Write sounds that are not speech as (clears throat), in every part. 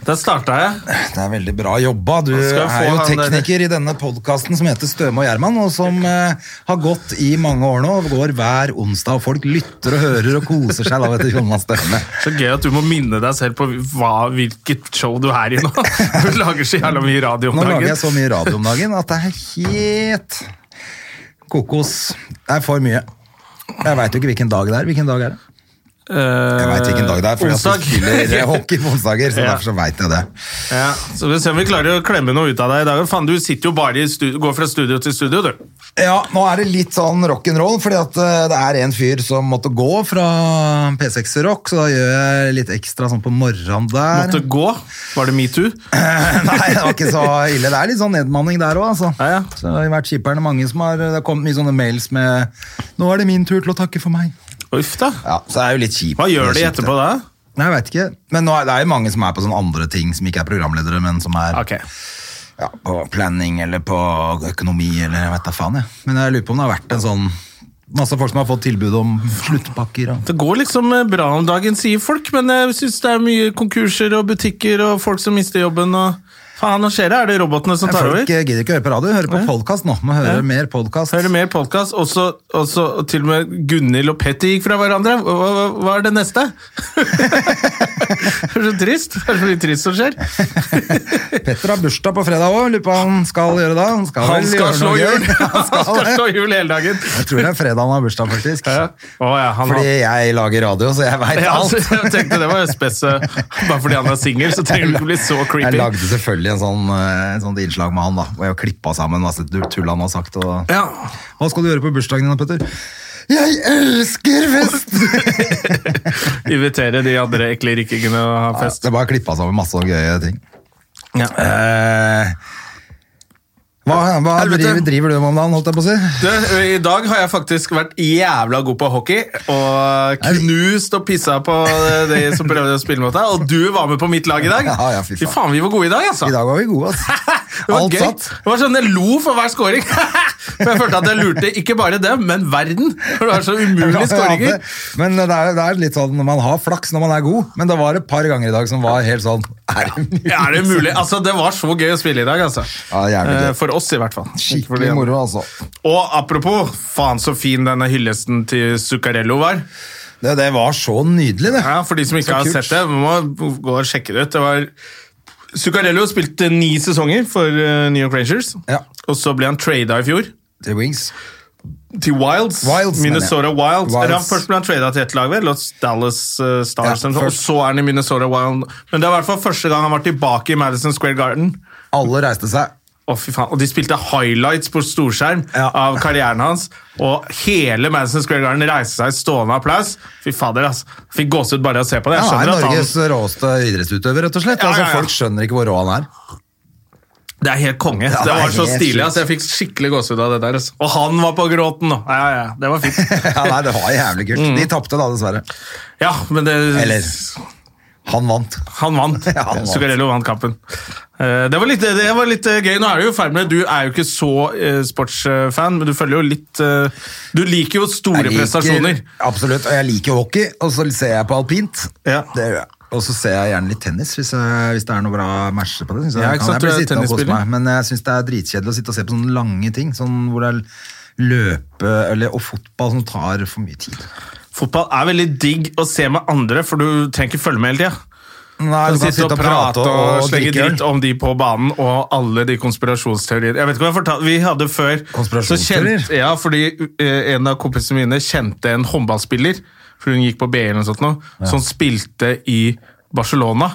Der starta jeg. Det er veldig bra jobba. Du Han skal er få jo han der- tekniker i denne podkasten som heter Støme og Gjerman, og som eh, har gått i mange år nå. og Går hver onsdag, og folk lytter og hører og koser seg da, vet du, Jonas Støme. Så gøy at du må minne deg selv på hva, hvilket show du er i nå. (laughs) Du lager så jævla mye radio om Nå lager jeg dagen. sånn- så mye radio om dagen at det er helt kokos. Det er for mye. Jeg veit jo ikke hvilken dag det er. Hvilken dag er det? Jeg Eh, vet hvilken dag det er, fordi at Onsdag. du (laughs) spiller hockey på onsdager. Så Ja. derfor så vet jeg det. Ja, så vi ser om vi klarer å klemme noe ut av deg i dag. Faen, du sitter jo bare i studio, går fra studio til studio, du. Ja, nå er det litt sånn rock'n'roll, fordi at eh, det er en fyr som måtte gå fra P6 Rock, så da gjør jeg litt ekstra sånn på morgenen der. Måtte gå. Var det metoo? (laughs) Nei, det var ikke så ille. Det er litt sånn nedmanning der òg, altså. Ja, ja. Så det har vært kjipperne mange som har Det har kommet mye sånne mails med 'Nå er det min tur til å takke for meg'. Uff da. Ja, så det er jo litt kjipt. Hva gjør de Det er kjipt, etterpå da? det. Nei, jeg vet ikke. Men nå er, det er jo mange som er på sånne andre ting, som ikke er programledere, men som er Ok. ja, på planning eller på økonomi eller jeg vet da faen, jeg. Men jeg lurer på om det har vært en sånn Masse folk som har fått tilbud om sluttpakker og Det går liksom eh, bra om dagen, sier folk, men eh, jeg syns det er mye konkurser og butikker og folk som mister jobben og Faen, hva skjer det? Er det robotene som tar Folk over? eh, gidder ikke å høre på radio, hører på podkast nå. Må høre mer podkast. Hører mer podkast. Også, også og til og med Gunhild og Petter gikk fra hverandre. Hva, hva, hva er det neste? (laughs) det er så trist. Det er så mye trist som skjer. Petter har bursdag på fredag òg, lurer på hva han skal gjøre da. Han skal, Han vel skal gjøre slå noe gøy. hjul! Han (laughs) Han (laughs) skal skal det. slå hjul hele dagen. Jeg tror det er fredag han har bursdag, faktisk. Ja. Å ja, han Fordi jeg lager radio, så jeg veit (laughs) Ja, altså, alt. jeg tenkte det var spes eh, Bare fordi han er singel, så trenger du ikke bli så Jeg creepy. lagde selvfølgelig en sånn, eh, en sånn innslag med han, da, hvor jeg klippa sammen masse du- tull han har sagt. Og... Ja. Hva skal du gjøre på bursdagen din, da, Petter? Jeg elsker (laughs) fest! Invitere de andre ekle rikkingene og ha fest. Det er bare klippa sammen masse sånne gøye ting. Ja. Eh, hva hva Helvete. driver, driver du med om dagen, holdt jeg på å si? Du, I dag har jeg faktisk vært jævla god på hockey og knust og pissa på de som prøvde å spille mot deg. Og du var med på mitt lag i dag. Ja, ja, fy faen. vi var gode i dag, altså. I dag var vi gode, ass. (laughs) Det var Alt gøy. satt. Det var sånn, Jeg lo for hver scoring. (laughs) For jeg følte at jeg lurte ikke bare dem, men verden. For det var så umulige scoringer. Men det er, det er litt sånn, man har flaks når man er god, men det var et par ganger i dag som var helt sånn Er det mulig? Ja, er det mulig? Altså, Det var så gøy å spille i dag, altså. Ja, jævlig gøy. Eh, For oss, i hvert fall. Ikke for de Skikkelig andre. moro, altså. Og apropos, faen så fin denne hyllesten til Zuccarello var. Det, det var så nydelig, det. Ja, For de som ikke har kult. sett det, må gå og sjekke det ut. Det var Zuccarello spilte ni sesonger for eh, New York Rangers. Ja. Og så ble han trada i fjor The Wings. til Wilds. Wilds, mener jeg. Minnesota Wilds. Wilds. Eller han først ble han trada til ett lag, vel? Los Dallas eh, Stars. Ja, eller noe sånt, og først. så er han i Minnesota Wild. Men det er i hvert fall første gang han var tilbake i Madison Square Garden. Alle reiste seg. Å, fy faen. Og de spilte highlights på storskjerm Ja. av karrieren hans. Og hele Madison Square Garden reiste seg i stående applaus. Fy fader, altså. Fikk gåsehud bare av å se på det. Ja, Jeg Han er skjønner at Norges han, råeste idrettsutøver, rett og slett. Ja, ja, ja. Altså, folk skjønner ikke hvor rå han er. det er helt konge. Ja, det det er var så helt stilig. sjukt. Altså. Jeg fikk skikkelig gåsehud av det der. Altså. Og han var på gråten nå. Ja, ja, ja. Det var (laughs) fint. Ja, nei, Det var jævlig kult. Mm. De tapte, da, dessverre. Ja, men det Eller Han vant. Han vant. (laughs) Ja, han vant. Zuccarello vant kampen. Eh, Det var litt, det var litt eh, gøy. Nå er det jo ferdig med Du er jo ikke så eh, sportsfan, men du følger jo litt eh, Du liker jo store Jeg liker- prestasjoner. Absolutt. Og jeg liker hockey, og så ser jeg på alpint. Ja. Det gjør jeg. Og så ser jeg gjerne litt tennis, hvis, jeg, hvis det er noe bra matcher på det. synes jeg. Ja, ikke sant, kan jeg du er bli sittende og kose tennisspiller. meg. Men jeg syns det er dritkjedelig å sitte og se på sånne lange ting, sånn hvor det er løpe eller, og fotball som tar for mye tid. Fotball er veldig digg å se med andre, for du trenger ikke følge med hele tida. Du Nei, du kan kan sitte og sitte prate og, slenge drikke øl. dritt om de på banen og alle de konspirasjonsteorier. Jeg vet ikke hva jeg fortalte, Vi hadde før så Konspirasjonsteorier? kjent- Ja, fordi eh, en av kompisene mine kjente en håndballspiller, for hun gikk på BI eller noe sånt, nå, som spilte i Barcelona.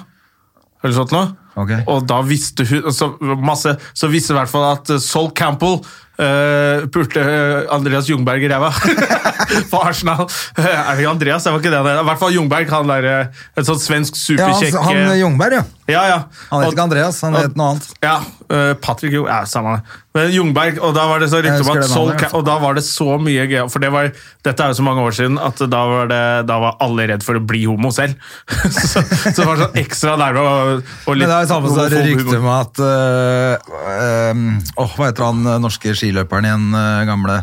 Eller sånt nå. Ok. Og da visste hun så, masse, så visste i hvert fall at eh, Sol Campbell eh, pulte eh, Andreas Jungberg i ræva (laughs) for Arsenal. Eh, er det ikke Andreas? Det var ikke det. det er I hvert fall Jungberg, han der eh, et sånt svensk Ja, han, superkjekk han eh, Jungberg, ja. ja, ja. Han Og- heter ikke Andreas, han og- heter noe annet. Ja, eh, Patrick jo, ja, samme det. Men Jungberg, og da var det så Jeg rykte om husker at det Sol, navnet, altså. og da var det så mye gøy, for det var, dette er jo så mange år siden, at da var, det, da var alle redd for å bli homo selv. (laughs) så, så det var sånn ekstra nærme og, og litt Men det er jo samme som det homofob ryktet humor. med at øh, øhm, åh, Hva heter han øh, norske skiløperen igjen, øh, gamle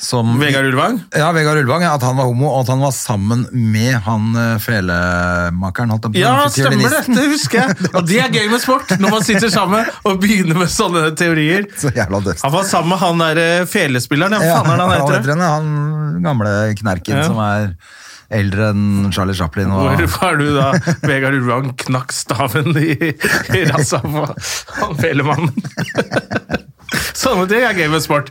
som, Vegard Ulvang? Ja, Vegard Ulvang. ja, At han var homo, og at han var sammen med han øh, felemakeren. holdt jeg på å si, Ja, han stemmer det, fiolinisten. det (laughs) husker jeg. Og det er gøy med sport, når man sitter sammen og begynner med sånne teorier. (laughs) Så jævla døvt. Han var sammen med han der eh, felespilleren, ja, Ja, faen er det han hva heter? han, han gamle knerken Ja. som er eldre enn Charlie Chaplin. Og, Hvorfor er du da Vegard Ulvang knakk staven i, i rassa på han felemannen? (laughs) Sånne ting er gøy med sport.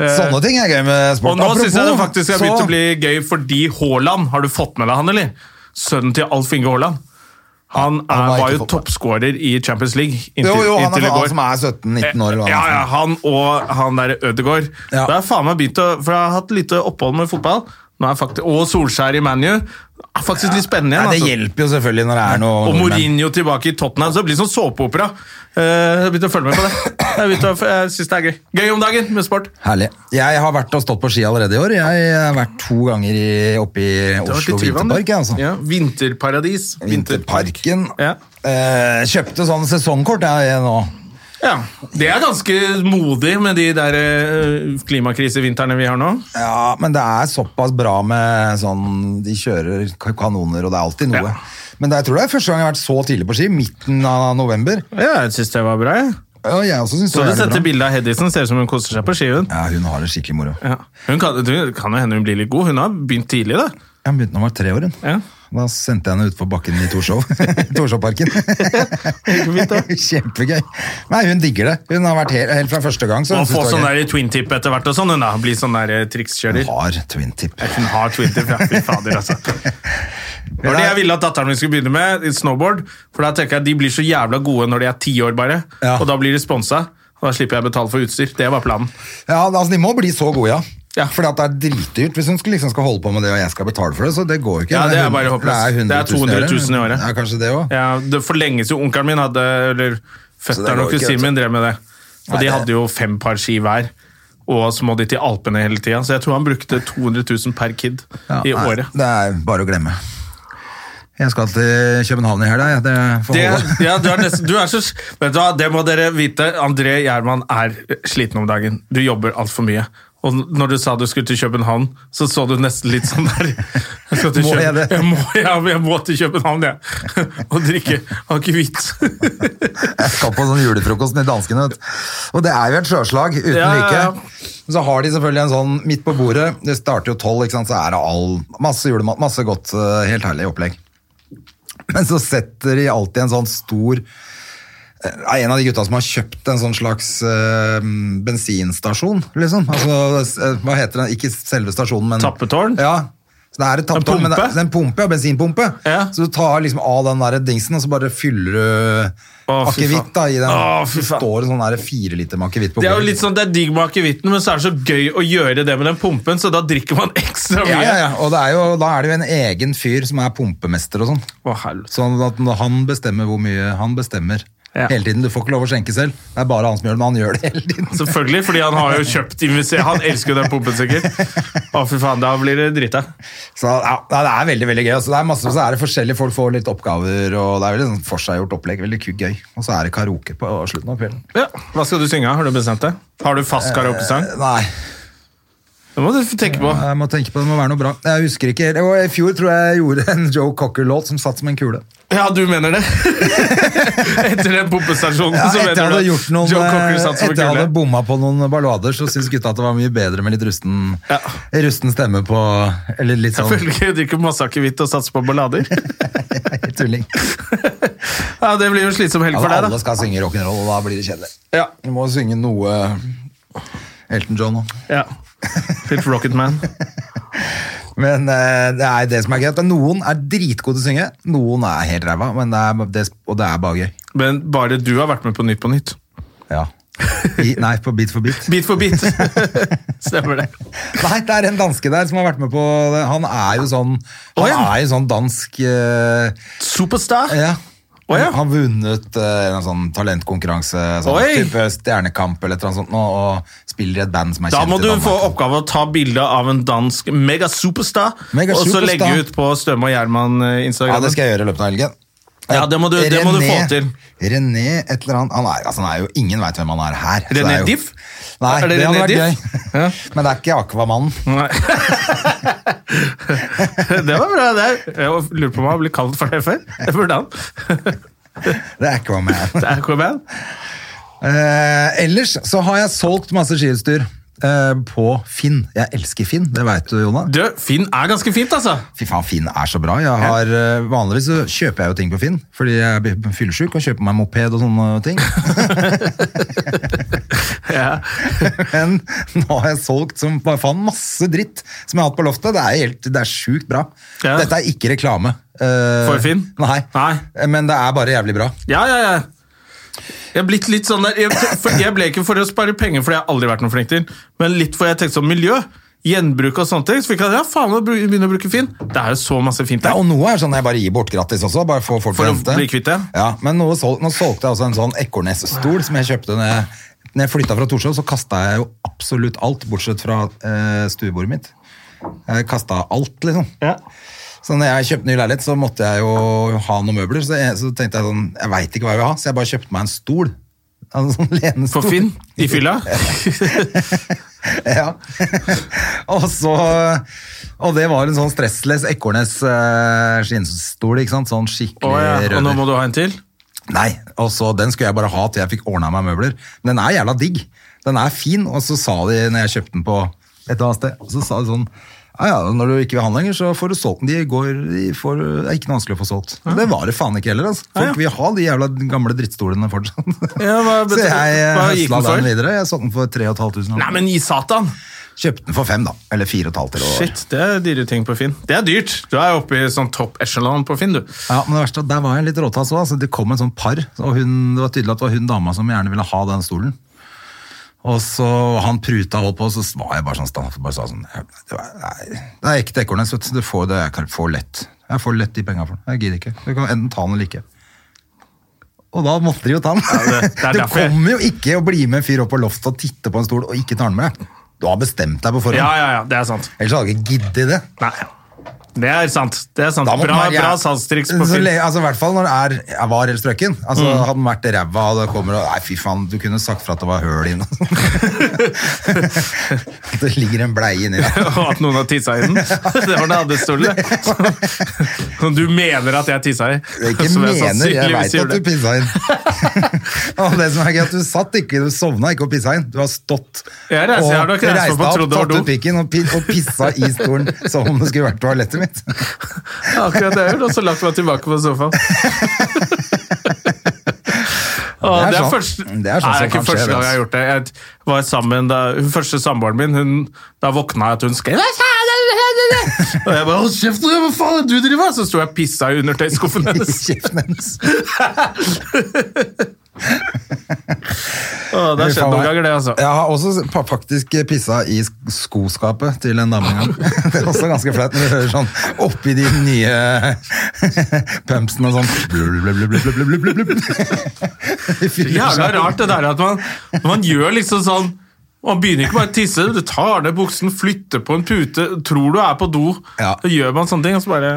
Eh, Sånne ting er gøy med og sport. nå syns jeg det Apropos, sånn. faktisk har så- begynt å bli gøy fordi Haaland Har du fått med deg han, eller? Sønnen til Alf Inge Haaland. Han, er, har jeg var ikke jo fått med. toppskårer i Champions League inntil, Jo, jo, han, inntil er, i han går. Eh, som er 17-19 år. eller hva Ja, han ja, er. sånn. han og han der Ødegaard. Ja. Det er faen meg begynt å For jeg har hatt lite opphold med fotball. Nå er faktisk, og Solskjær i ManU. Er faktisk litt spennende igjen. Nei, det altså. hjelper jo selvfølgelig når det er noe Og nordmenn. Mourinho tilbake i Tottenham. Så det blir sånn såpeopera. Eh, Jeg har begynt å følge med på det. Jeg, har begynt å, jeg synes det er gøy. Gøy om dagen med sport. Herlig. Jeg har vært og stått på ski allerede i år. Jeg har vært to ganger i, oppe i Du har vært i Oslo Tryvann, du. Vinterpark. jeg, Altså. Ja, vinterparadis. Vinterparken. Ja. Eh, kjøpte sånn sesongkort jeg, jeg, nå. Ja. Det er ganske modig med de der eh, klimakrisevintrene vi har nå. Ja, men det er såpass bra med sånn De kjører ka- kanoner, og det er alltid noe. Ja. Men det, jeg tror det er første gang jeg har vært så tidlig på ski. Midten av november. Ja, jeg syns det var bra. jeg. Ja, jeg også synes Så det du var jævlig setter bra. bilde av Hedison. Ser ut som hun koser seg på ski. Hun, Ja, hun har det skikkelig moro. ja. hun kan, det kan jo hende hun blir litt god. Hun har begynt tidlig, da. Jeg begynte da hun var tre år. hun. Ja. Da sendte jeg henne utfor bakken i Torshov. (laughs) Torshovparken. (laughs) Kjempegøy. Nei, hun digger det. Hun har vært helt, helt fra første gang. Så Og hun få synes det sånn var gøy. der twin tip etter hvert og sånn. Hun da. Bli sånn der eh, trikskjører. Hun har twin tip. Hun har twin tip, ja. Fy fader, altså. Det var det jeg ville at datteren min skulle begynne med, i snowboard. For da tenker jeg De blir så jævla gode når de er ti år, bare. Ja. Og da blir de sponsa. Og da slipper jeg å betale for utstyr. Det var planen. Ja, altså, De må bli så gode, ja. Ja. Fordi at det er dritdyrt hvis hun skal, liksom, skal holde på med det, og jeg skal betale for det. Så det går jo ikke. Ja, det er hun- bare håpløst. Det er 200 000 i året. Ja, kanskje det også. Ja, det forlenges jo. Onkelen min hadde Eller det fetteren går og ikke, kusinen vet min drev med det. Og Nei, de det- hadde jo fem par ski hver. Og så må de til Alpene hele tida. Så jeg tror han brukte 200 000 per kid Ja, i nei, året. Det er bare å glemme. Jeg skal til København i helga. jeg. Det får Det, holde. ja, du er nesten, du er så, vet du hva, det må dere vite. André Gjerman er sliten om dagen. Du jobber altfor mye. Og når du sa du skulle til København, så så du nesten litt sånn der jeg skal til Må jeg Køben- det? Jeg må, ja, jeg må til København, jeg. (laughs) Og drikke akevitt. (laughs) Jeg skal på sånn julefrokosten i danskene. vet du. Og det er jo et sjøslag uten Ja, ja, ja. like. Så har de selvfølgelig en sånn midt på bordet. Det starter jo tolv, ikke sant? så er det all, masse julemat, masse godt, eh, helt herlig opplegg. Men så setter de alltid en sånn stor eh, er en av de gutta som har kjøpt en sånn slags eh, bensinstasjon, liksom. Altså, eh, hva heter den? Ikke selve stasjonen, men Tappetårn? Ja. Så det er et tappetårn, men det pumpe? det er en pumpe, ja, bensinpumpe. Ja. Så du tar liksom av den der dingsen, og så bare fyller du Å, fy faen. akevitt da, i den. Å, fy Så faen. står det sånn der fire liter med akevitt på Det er jo bordet. litt sånn, det er digg med akevitten, men så er det så gøy å gjøre det med den pumpen, så da drikker man ekstra mye. Ja, ja, ja. Og det er jo, da er det jo en egen fyr som er pumpemester og sånn. Å, helvete. Sånn at når han bestemmer hvor mye han bestemmer. Ja. Hele tiden, Du får ikke lov å skjenke selv. Det er bare han som gjør det, men han gjør det hele tiden. Selvfølgelig, fordi han har jo kjøpt investert. Han elsker jo den pumpen, sikkert. Å, fy faen, da blir det drita. Så ja, nei, Det er veldig veldig gøy. Altså, det er masse, så er det forskjellige folk får litt oppgaver, og det er veldig sånn forseggjort opplegg. Veldig ku- gøy. Og så er det karaoke på slutten av kvelden. Ja. Hva skal du synge? Har du bestemt det? Har du fast karaokesang? Nei, Det må du tenke på. Jeg Eh, må tenke på det, det må være noe bra. Jeg husker ikke, det var I fjor tror jeg jeg gjorde en Joe Cocker-låt som satt som en kule. Ja, du mener (laughs) det. Etter den pumpestasjonen, Ja, så mener etter jeg hadde du gjort noen, eh, Joe Cocker satt som etter en jeg kule. hadde bomma på noen ballader, så syntes gutta at det var mye bedre med litt rusten, Ja. rusten stemme på Eller litt (laughs) sånn (laughs) Selvfølgelig drikker masse akevitt og satser på ballader. (laughs) tulling. Ja, Det blir jo en slitsom helg Ja, for deg, alle da. skal synge rock'n'roll, og da blir det kjedelig. Ja. Du må synge noe Elton John òg. ja. Litt Rocket Man. Men eh, det er det som er gøy. at Noen er dritgode til å synge, noen er helt ræva, men det er, det, og det er bare gøy. Men bare du har vært med på Nytt på Nytt. Ja. I, nei, på Bit for (laughs) bit. Bit for (laughs) bit. Stemmer det. Nei, det er en danske der som har vært med på det. Han er jo sånn, Å, han ja. er jo sånn dansk eh, Superstar. Ja. Å, ja. Han har vunnet eh, en sånn talentkonkurranse, sånn Oi. type Stjernekamp eller et eller annet sånt, nå, og spiller i et band som er Da kjent må i du Danmark. få oppgave å ta bilde av en dansk megasuperstar, Mega og så superstar. legge ut på Støme og eh, Gjerman-instagram. Ja, det skal jeg gjøre i løpet av helgen. Ja, det må du- det må du René- få til. René et eller annet han er, altså, han er jo Ingen veit hvem han er her. så René det er jo- Diff? (laughs) Nei, Er det, det hadde René vært Diff? gøy. (laughs) Men det er ikke Aquamannen. Det var bra, det. Jeg lurer på om han har blitt kalt for det før. (laughs) Det burde han. Det er Aquaman. Det er Aquaman. Eh, ellers så har jeg solgt masse skiutstyr eh, på Finn. Jeg elsker Finn, det veit du, Jonah. Du, Finn er ganske fint, altså. Fy faen, Finn er så bra. Jeg har, eh, vanligvis så kjøper jeg jo ting på Finn, fordi jeg blir fyllesyk og kjøper meg moped og sånne (laughs) ting. Ja. Men nå har jeg solgt som bare faen masse dritt som jeg har hatt på loftet. Det er, helt, det er sjukt bra. Ja. Dette er ikke reklame. Eh, For Finn? Nei. Eh, Nei. Men det er bare jævlig bra. Ja, ja, ja. Jeg er blitt litt sånn der jeg, for jeg ble ikke for å spare penger, for det har jeg aldri vært noe flink til, men litt for jeg tenkte sånn miljø. Gjenbruk og sånne ting. Så fikk jeg ja, faen å bru- begynne å bruke Finn. Det er jo så masse fint Ja, der. og noe er sånn jeg bare gir bort gratis også. bare For, folk For å til hente. bli kvitt det? Ja, men noe sol, nå solgte jeg også en sånn Ekornes-stol som jeg kjøpte når jeg, når jeg flytta fra Torshov. Så kasta jeg jo absolutt alt, bortsett fra eh, stuebordet mitt. Jeg kasta alt, liksom. Ja. Så når jeg kjøpte ny leilighet, så måtte jeg jo ha noen møbler. Så, jeg, så tenkte jeg sånn, jeg veit ikke hva jeg vil ha, så jeg bare kjøpte meg en stol. En sånn lenestol. For Finn i fylla. (laughs) Ja. (laughs) og så Og det var en sånn stressless Ekornes eh, skinnstol, ikke sant? Sånn skikkelig Å, ja. Og nå røver. må du ha en til? Nei, og så den skulle jeg bare ha til jeg fikk ordna meg møbler. Men den er jævla digg. Den er fin, og så sa de når jeg kjøpte den på et eller annet sted, så sa de sånn ja, ja, Når du ikke vil ha den lenger, så får du solgt den. De går, de får, det er ikke noe vanskelig å få solgt. Og Det var det faen ikke heller. altså. Folk vil ha de jævla gamle drittstolene fortsatt. (laughs) Ja, hva så betyr- jeg eh, hva gikk den høsla for? den videre. Jeg solgte den for 3500. Nei, men gi satan! Kjøpte den for fem, da. Eller fire og et halvt. eller hva det var. Shit, det er dyre ting på Finn. Det er dyrt. Du er jo oppe i sånn topp echelon på Finn, du. Ja, men det verste, er at Der var jeg litt råtass òg. Det kom en sånn par, og hun, det var tydelig at det var hun dama som gjerne ville ha den stolen. Og så Han pruta holdt på, og så var jeg bare sånn stand, bare sa sånn Det er- nei, det er ekte ekornes, vet du. Du får det jeg kan få lett. Jeg får lett de penga for den. Jeg gidder ikke. Du kan enten ta den eller ikke. Og da måtte de jo ta den. det- det er (laughs) du derfor jeg- kommer jo ikke å bli med en fyr opp på loftet og titte på en stol og ikke ta den med deg. Du har bestemt deg på forhånd. Ja, ja, ja, det er sant. Ellers hadde jeg ikke giddet det. Nei. Det er sant. Det er sant. Da må den Bra, være jæv- bra salgstriks på Mm. Så Finn. (laughs) le- Altså, I hvert fall når det er jeg var helt strøken. Altså, Hadde den vært ræva og det kommer og Nei, fy faen, du kunne sagt fra at det var høl (laughs) inne. At det ligger en bleie inni der. Og at noen har tissa (laughs) i den. (laughs) Det var den andre stolen. det. Som (laughs) du mener at jeg tissa i. Jeg (laughs) ikke Som mener, jeg sannsynligvis veit at gjorde. du pissa inn. (laughs) og det som er gøy, at du satt ikke, du sovna ikke og pissa inn. Du har stått Jeg reiser- jeg har nok reist meg opp og trodde det var tatt do. ut pikken og, pi- og pissa i stolen som om det skulle vært toalettet mitt. (laughs) Akkurat det jeg gjorde, og så lagt meg tilbake på sofaen. Å, Det det er er sånn- første, Nei, det er sånn som det er ikke kan skje, første gang jeg altså. har gjort det. Jeg var sammen da, hun første samboeren min, hun, da våkna jeg at hun skrev «Hva faen er det her?» Og jeg bare 'Hold kjeft, du, hva faen er det du driver med?' Så sto jeg og pissa i undertøyskuffen I hennes. kjeften hennes. Å, det har skjedd noen ganger, det, altså. Jeg har også pa- faktisk pissa i sk- skoskapet til en dame en gang. (laughs) Det er også ganske flaut når du hører sånn oppi de nye (laughs) pumpsene og sånn blub, blub, blub, blub, blub, blub, blub, blub. (laughs) De fyller Jævla seg. rart det der at man, man gjør liksom sånn Man begynner ikke bare å tisse, du tar ned buksen, flytter på en pute, tror du er på do, Ja. så gjør man sånne ting, og så bare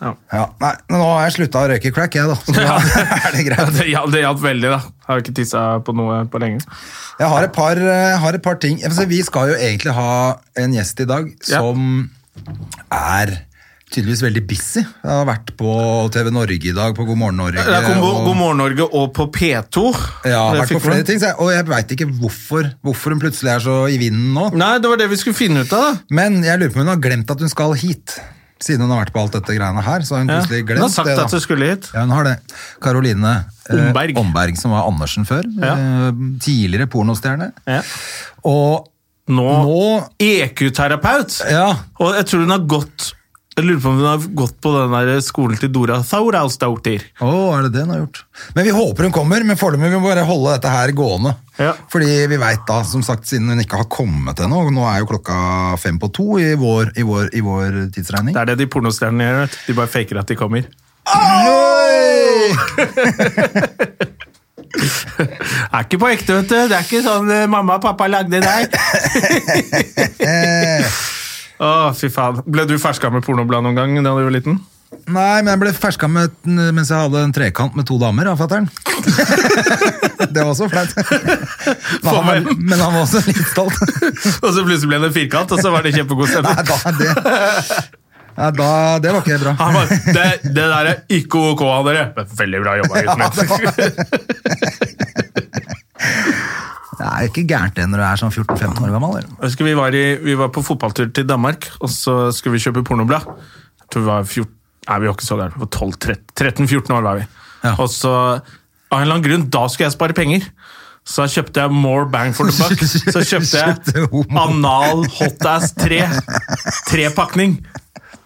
Ja, Ja, nei, men nå har jeg slutta å røyke crack, jeg, da. Så ja. da (laughs) er det greit. det, hjalp- det hjalp veldig, da. Jeg har ikke tissa på noe på lenge. Jeg har et par, eh, har et par ting altså, Vi skal jo egentlig ha en gjest i dag Ja. som er tydeligvis veldig busy. Jeg har vært på TV Norge i dag, på God morgen Norge. Det er kom, og- God morgen Norge og på P2. Ja, Det vært på fikk flere man. ting, så jeg, og jeg veit ikke hvorfor, hvorfor hun plutselig er så i vinden nå. Nei, det var det vi skulle finne ut av, da. Men jeg lurer på om hun har glemt at hun skal hit. Siden hun har vært på alt dette greiene her, så har hun Ja. plutselig Hun glemt har sagt det. da. at du skulle hit. Ja, hun har det. Karoline eh, Omberg. Omberg, som var Andersen før. Ja. Eh, tidligere pornostjerne. Ja. Og Nå, nå EQ-terapeut. Ja, Og jeg tror hun har gått Jeg lurer på om hun har gått på den der skolen til Dora Thaurausdottir. Å, er det det hun har gjort? Men vi håper hun kommer, men foreløpig må vi bare holde dette her gående. Ja. Fordi vi veit da, som sagt, siden hun ikke har kommet ennå, og nå er jo klokka fem på to i vår, i vår, i vår tidsregning. Det er det de pornostjernene gjør. vet du. De bare faker at de kommer. Oi! Er ikke på ekte, vet du. Det er ikke sånn eh, mamma og pappa lagde (laughs) deg. Å, fy faen. Ble du ferska med pornoblad noen gang da du var liten? Nei, men jeg ble ferska med, den mens jeg hadde en trekant med to damer av fatter'n. (laughs) det var også (laughs) flaut. Men han var- hvem? men han var også litt stolt. Og så plutselig ble det en firkant, og så var det kjempegod (laughs) Nei, stemning. da, det, nei, da, (laughs) det var ikke bra. Han bare, det, det der er ikke ok av dere. Men Veldig bra jobba, (laughs) gutten min. Det er jo ikke gærent det når du er sånn 14-15 år gammel. Eller? Jeg husker vi var, i, vi var på fotballtur til Danmark, og så skulle vi kjøpe pornoblad. Jeg tror vi var 14, nei, vi var ikke så gærne. Vi var 12, 13 13-14 år var vi. Ja. Og så, av en eller annen grunn, da skulle jeg spare penger. Så da kjøpte jeg More Bang for the (laughs) Buck. Så kjøpte jeg Kjøpte homo. Anal Hot Ass 3. Trepakning.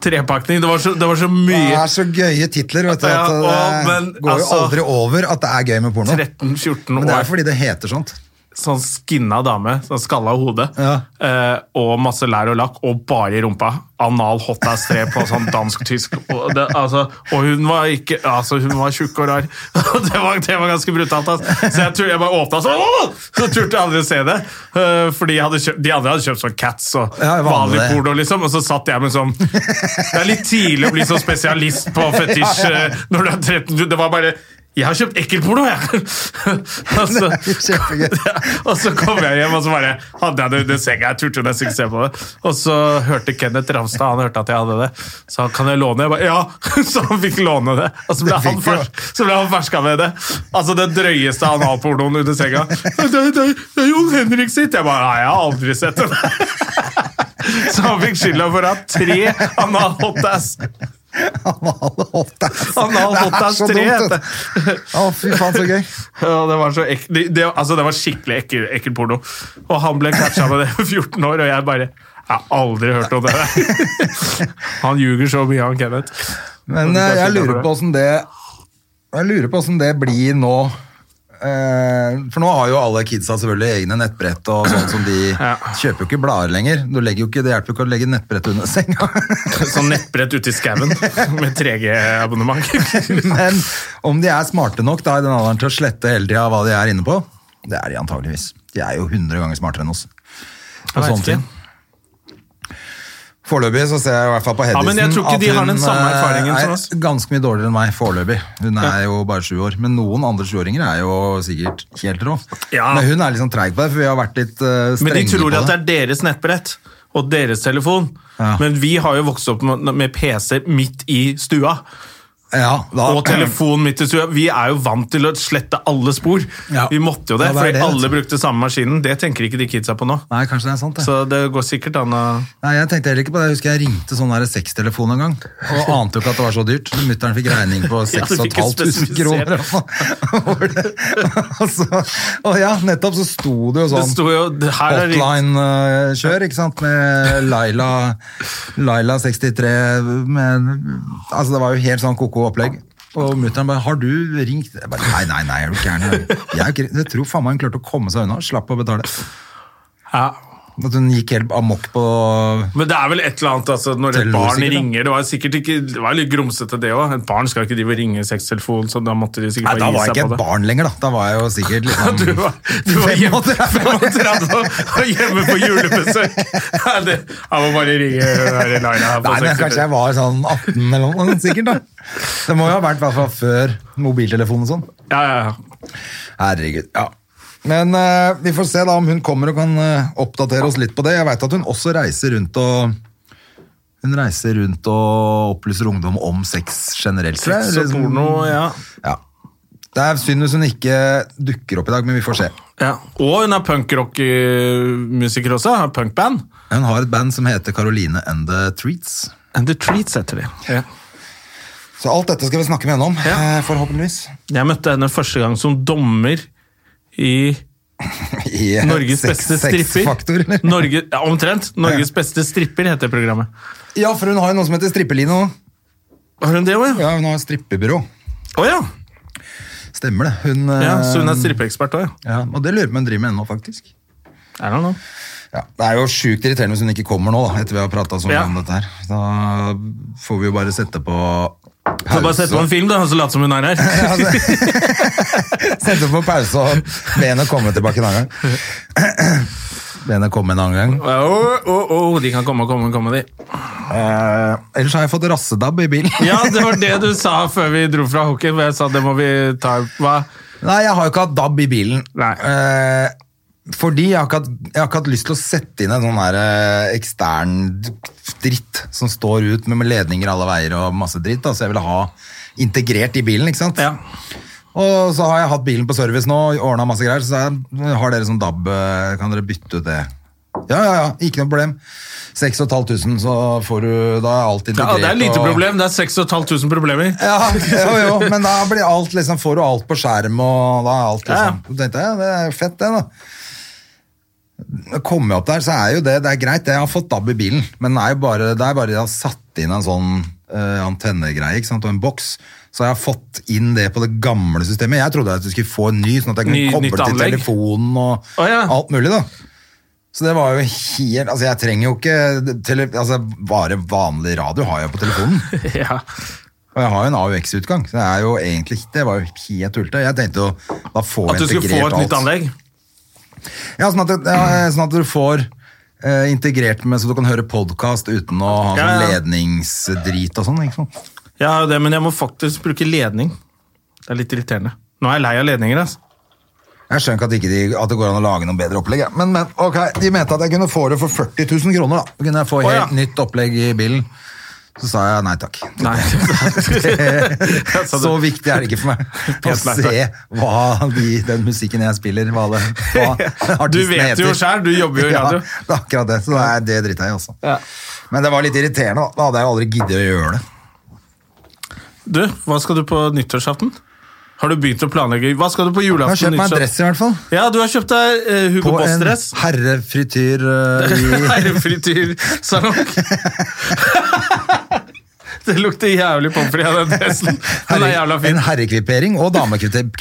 Trepakning. Det var så, det var så Det mye. er så gøye titler, vet du. Ja, at og- det men, går jo altså- aldri over at det er gøy med porno. 13-14 Men det er år. fordi det heter sånt. (laughs) sånn skinna dame, sånn skalla hode, Ja. eh, og masse lær og lakk, og bare i rumpa. Anal hot ass 3 på sånn dansk-tysk. Og, det- altså, og hun var ikke Altså, hun var tjukk og rar. (laughs) det, var, det var ganske brutalt. ass. Så jeg, tur, jeg bare åpna sånn, «Åh!» så turte jeg aldri å se det. eh, fordi jeg hadde kjøpt, de andre hadde kjøpt sånn Cats og Ja, vanlig. vanlig porno, liksom. Og så satt jeg med sånn Det er litt tidlig å bli sånn spesialist på fetisj eh, når du er 13. Du- Det var bare Jeg har kjøpt ekkelporno, jeg! (laughs) altså, Kjempegøy. ja, (laughs) og så kom jeg hjem, og så bare hadde jeg det under senga. Jeg turte nesten ikke se på det. Og så hørte Kenneth Ramstad han hørte at jeg hadde det. Så han kan jeg låne? Jeg bare, ja! (laughs) Så han fikk låne det. Og så ble Det han, fikk fers, så ble han ferska med det. Altså det drøyeste analpornoen under (laughs) senga. Det, det, det, det er Jon Henrik sitt! Jeg bare, nei, jeg har aldri sett det. (laughs) Så han fikk skylda for å ha tre anal-hotass. Anal hot ass. Anal hot ass Det er så 3 dumt, heter vet det. du. Å, fy faen, så gøy. Ja, det var, så ek det, det, altså, det var skikkelig ekkel, ekkel porno. Og han ble catcha med det for 14 år, og jeg bare Jeg har aldri hørt om det der. (laughs) Han ljuger så mye, han Kenneth. Men Og du eh, kan jeg skylde lurer for på åssen det Jeg lurer på hvordan det blir nå. Eh, For nå har jo alle kidsa selvfølgelig egne nettbrett og sånn som de Ja. kjøper jo ikke blader lenger. Du legger jo ikke, det hjelper jo ikke å legge nettbrett under senga. (laughs) Sånn nettbrett ute i skauen med (laughs) 3G-abonnement. Men om de er smarte nok da i den alderen til å slette hele tida hva de er inne på, det er de antageligvis. De er jo 100 ganger smartere enn oss. På Jeg vet sånne ting. ikke. Foreløpig så ser jeg i hvert fall på Ja, Hedisen men jeg tror ikke de har den samme eh, erfaringen som oss. er ganske mye dårligere enn meg foreløpig. Hun er jo bare sju år, men noen andre sjuåringer er jo sikkert helt rå. Ja. Men hun er liksom treig på det, for vi har vært litt Men eh, de strenge på tror det. at det er deres nettbrett og deres telefon. Ja. Men vi har jo vokst opp med med PC midt i stua. ja, da, Og telefonen midt i stua. Vi er jo vant til å slette alle spor. Ja. Vi måtte jo det, Ja, det er fordi det, vet alle du. brukte samme maskinen. Det tenker ikke de kidsa på nå. Nei, kanskje det er sant, det. Så det går sikkert an å Nei, jeg tenkte heller ikke på det. Jeg husker jeg ringte sånn der sextelefon en gang, og ante jo ikke at det var så dyrt. Mutteren fikk regning på (laughs) Ja, du fikk ikke 6500 kroner. (laughs) Hvor det- og, så, og ja, nettopp så sto det jo Det sånn sto jo det her er ring- hotline-kjør, ikke sant, med Laila, Laila 63, men altså det var jo helt sånn koko opplegg. Og mutteren bare, har du ringt? Jeg bare, nei, nei, nei, er du gæren? Jeg, er jo ikke- jeg tror faen meg hun klarte å komme seg unna, slapp å betale. ja. At hun gikk helt amok på Men det er vel et eller annet altså, når et Teller barn sikkert, da. ringer Det var sikkert ikke, det var litt grumsete, det òg. Et barn skal ikke drive og ringe sextelefon, så da måtte de Nei, sikkert da bare gi var jeg ikke seg et på det. barn lenger, da. Da var jeg jo sikkert liksom (laughs) Du var, du var hjemme, (laughs) 35 år. 35 og og hjemme på (laughs) julebesøk! (laughs) Nei, det, jeg må bare ringe hun der Laila her på Nei, men kanskje jeg 63. var sånn 18 eller noe, sånt, sikkert. da. Det må jo ha vært i hvert fall før mobiltelefonen og sånn. Ja, ja, ja. Herregud, ja. Men eh, vi får se da om hun kommer og kan eh, oppdatere oss litt på det. Jeg veit at hun også reiser rundt og hun reiser rundt og opplyser ungdom om sex generelt. tror jeg. Sex og Liksom- porno, ja. Ja. Det er synd hvis hun ikke dukker opp i dag, men vi får se. ja. Og hun er punkrock-musiker også. har Punkband. Hun har et band som heter Caroline and the Treats. And The Treats heter de. Ja. Så alt dette skal vi snakke med henne om, Ja. eh, forhåpentligvis. Jeg møtte henne første gang som dommer i i (laughs) Norges sex- beste stripper. sexfaktor, eller? (laughs) Norge, ja, omtrent. Norges beste stripper heter programmet. Ja, for hun har jo noe som heter strippelino. Har hun det òg, ja? Ja, hun har strippebyrå. Å ja. Stemmer det. Hun, ja! eh, Så hun er strippeekspert òg, ja. ja, og det lurer jeg på om hun driver med ennå, faktisk. Er det noe? Ja, det er jo sjukt irriterende hvis hun ikke kommer nå, da, etter vi har prata så mye Ja. om dette her. Da får vi jo bare sette på Så bare sette på (laughs) en film, da, og så late som hun er her. (laughs) Sette på pause og be henne komme tilbake en annen gang. (laughs) Be henne komme en annen gang. Å, å, å, de kan komme og komme, og komme, de. Eh, ellers har jeg fått rassedabb i bilen. Ja, det var det du sa før vi dro fra hockey. hvor Jeg sa det må vi ta Hva? Nei, jeg har jo ikke hatt DAB i bilen. Nei. Eh, fordi jeg har, ikke hatt, jeg har ikke hatt lyst til å sette inn en sånn her eh, ekstern dritt som står ut med med ledninger alle veier og masse dritt. Da. Så jeg ville ha integrert i bilen, ikke sant? Ja. Og så har jeg hatt bilen på service nå, ordna masse greier, så jeg har dere sånn DAB, eh, kan dere bytte ut det? Ja, ja, ja, ikke noe problem. 6500, så får du Da er alt Ja, integrert. det er lite og- problem. Det er 6500 problemer. (laughs) ja, jo, jo, men da blir alt liksom, får du alt på skjerm, og da er alt liksom Ja. Så tenkte jeg, ja, det er jo fett, det, da. Kommer jeg opp der, så er jo det det er greit. Jeg har fått DAB i bilen, men det er jo bare, det er bare jeg har satt inn en sånn eh, antennegreie ikke sant, og en boks. Så jeg har fått inn det på det gamle systemet. Jeg trodde at du skulle få en ny, sånn at jeg Ny- nytt kunne koble til anlegg. telefonen og Å, ja. alt mulig, da. Så det var jo helt Altså, jeg trenger jo ikke tele, altså, Bare vanlig radio har jeg på telefonen. Ja. Og jeg har jo en AUX-utgang, så det er jo egentlig det var jo helt tullete. Jeg tenkte jo, da får At du jeg skulle integrert få et alt. nytt anlegg. Ja, sånn at, det- ja, sånn at du får eh, integrert med, så du kan høre podcast uten å ha Ja, sånn ja. ledningsdrit og sånn, ikke sant? Jeg har jo det, men jeg må faktisk bruke ledning. Det er litt irriterende. Nå er jeg lei av ledninger. Altså. Jeg skjønner ikke at, ikke de, at det går an å lage noe bedre opplegg, jeg. men, men ok, de mente at jeg kunne få det for 40 000 kroner, da. Da kunne jeg få Å, helt ja. nytt opplegg i bilen. Så sa jeg nei takk. Nei. Jeg sa det. Så viktig er det ikke for meg å (laughs) Helt nei, se hva de, den musikken jeg spiller, hva, det, (laughs) hva artistene Du vet jo selv, du jobber jo i radio. (laughs) Ja, det er akkurat det, så det, er det driter jeg i også. (laughs) Ja. Men det var litt irriterende, da. da hadde jeg jo aldri giddet å gjøre det. Du, hva skal du på nyttårsaften? Har du begynt å planlegge? Hva skal du på Jeg har julaften? kjøpt meg en nyttårsaften? dress i hvert fall. Ja, du har kjøpt deg eh, Hugo På en (laughs) Boss-dress. (laughs) herrefrityr eh, i Herrefrityrsalong. (laughs) det lukter jævlig pommes frites av den dressen. Den er jævla Herre, en fin. herrekvipering og damekvittering (laughs)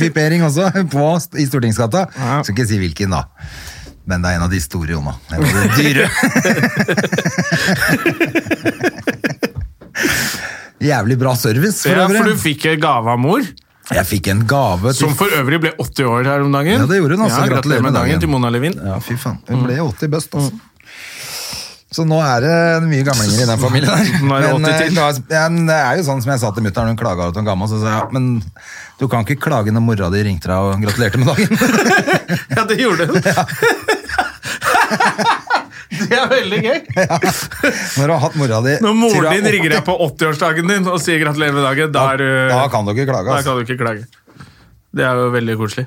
kvittering også på, st- i Stortingsgata. Skal ikke si hvilken, da. Men det er en av de store, Jonna. En av (laughs) de dyre. Jævlig bra service, for Ja, for øvrig. du fikk en gave av mor, Jeg fikk en gave til som for øvrig ble 80 år her om dagen. Ja, det gjorde hun, altså. Ja, Gratulerer gratulerer med med dagen. dagen til Mona Levin. Ja, fy faen. Hun ble 80 bøst, altså. Så nå er det mye gamlinger i den familien. her. Nå er det Men, 80 til. eh, la oss- ja, men det er jo sånn som jeg sa til mutter'n, hun klaga at hun gamma, så sa jeg ja, men du kan ikke klage når mora di ringte deg og gratulerte med dagen. (laughs) Ja, det gjorde hun. (laughs) det er veldig gøy. Når du har hatt mora di Når til du moren er din 80, ringer deg på 80-årsdagen din og sier gratulerer med dagen, da, da, er du, da kan du ikke klage, da altså. kan du ikke klage. Det er jo veldig koselig.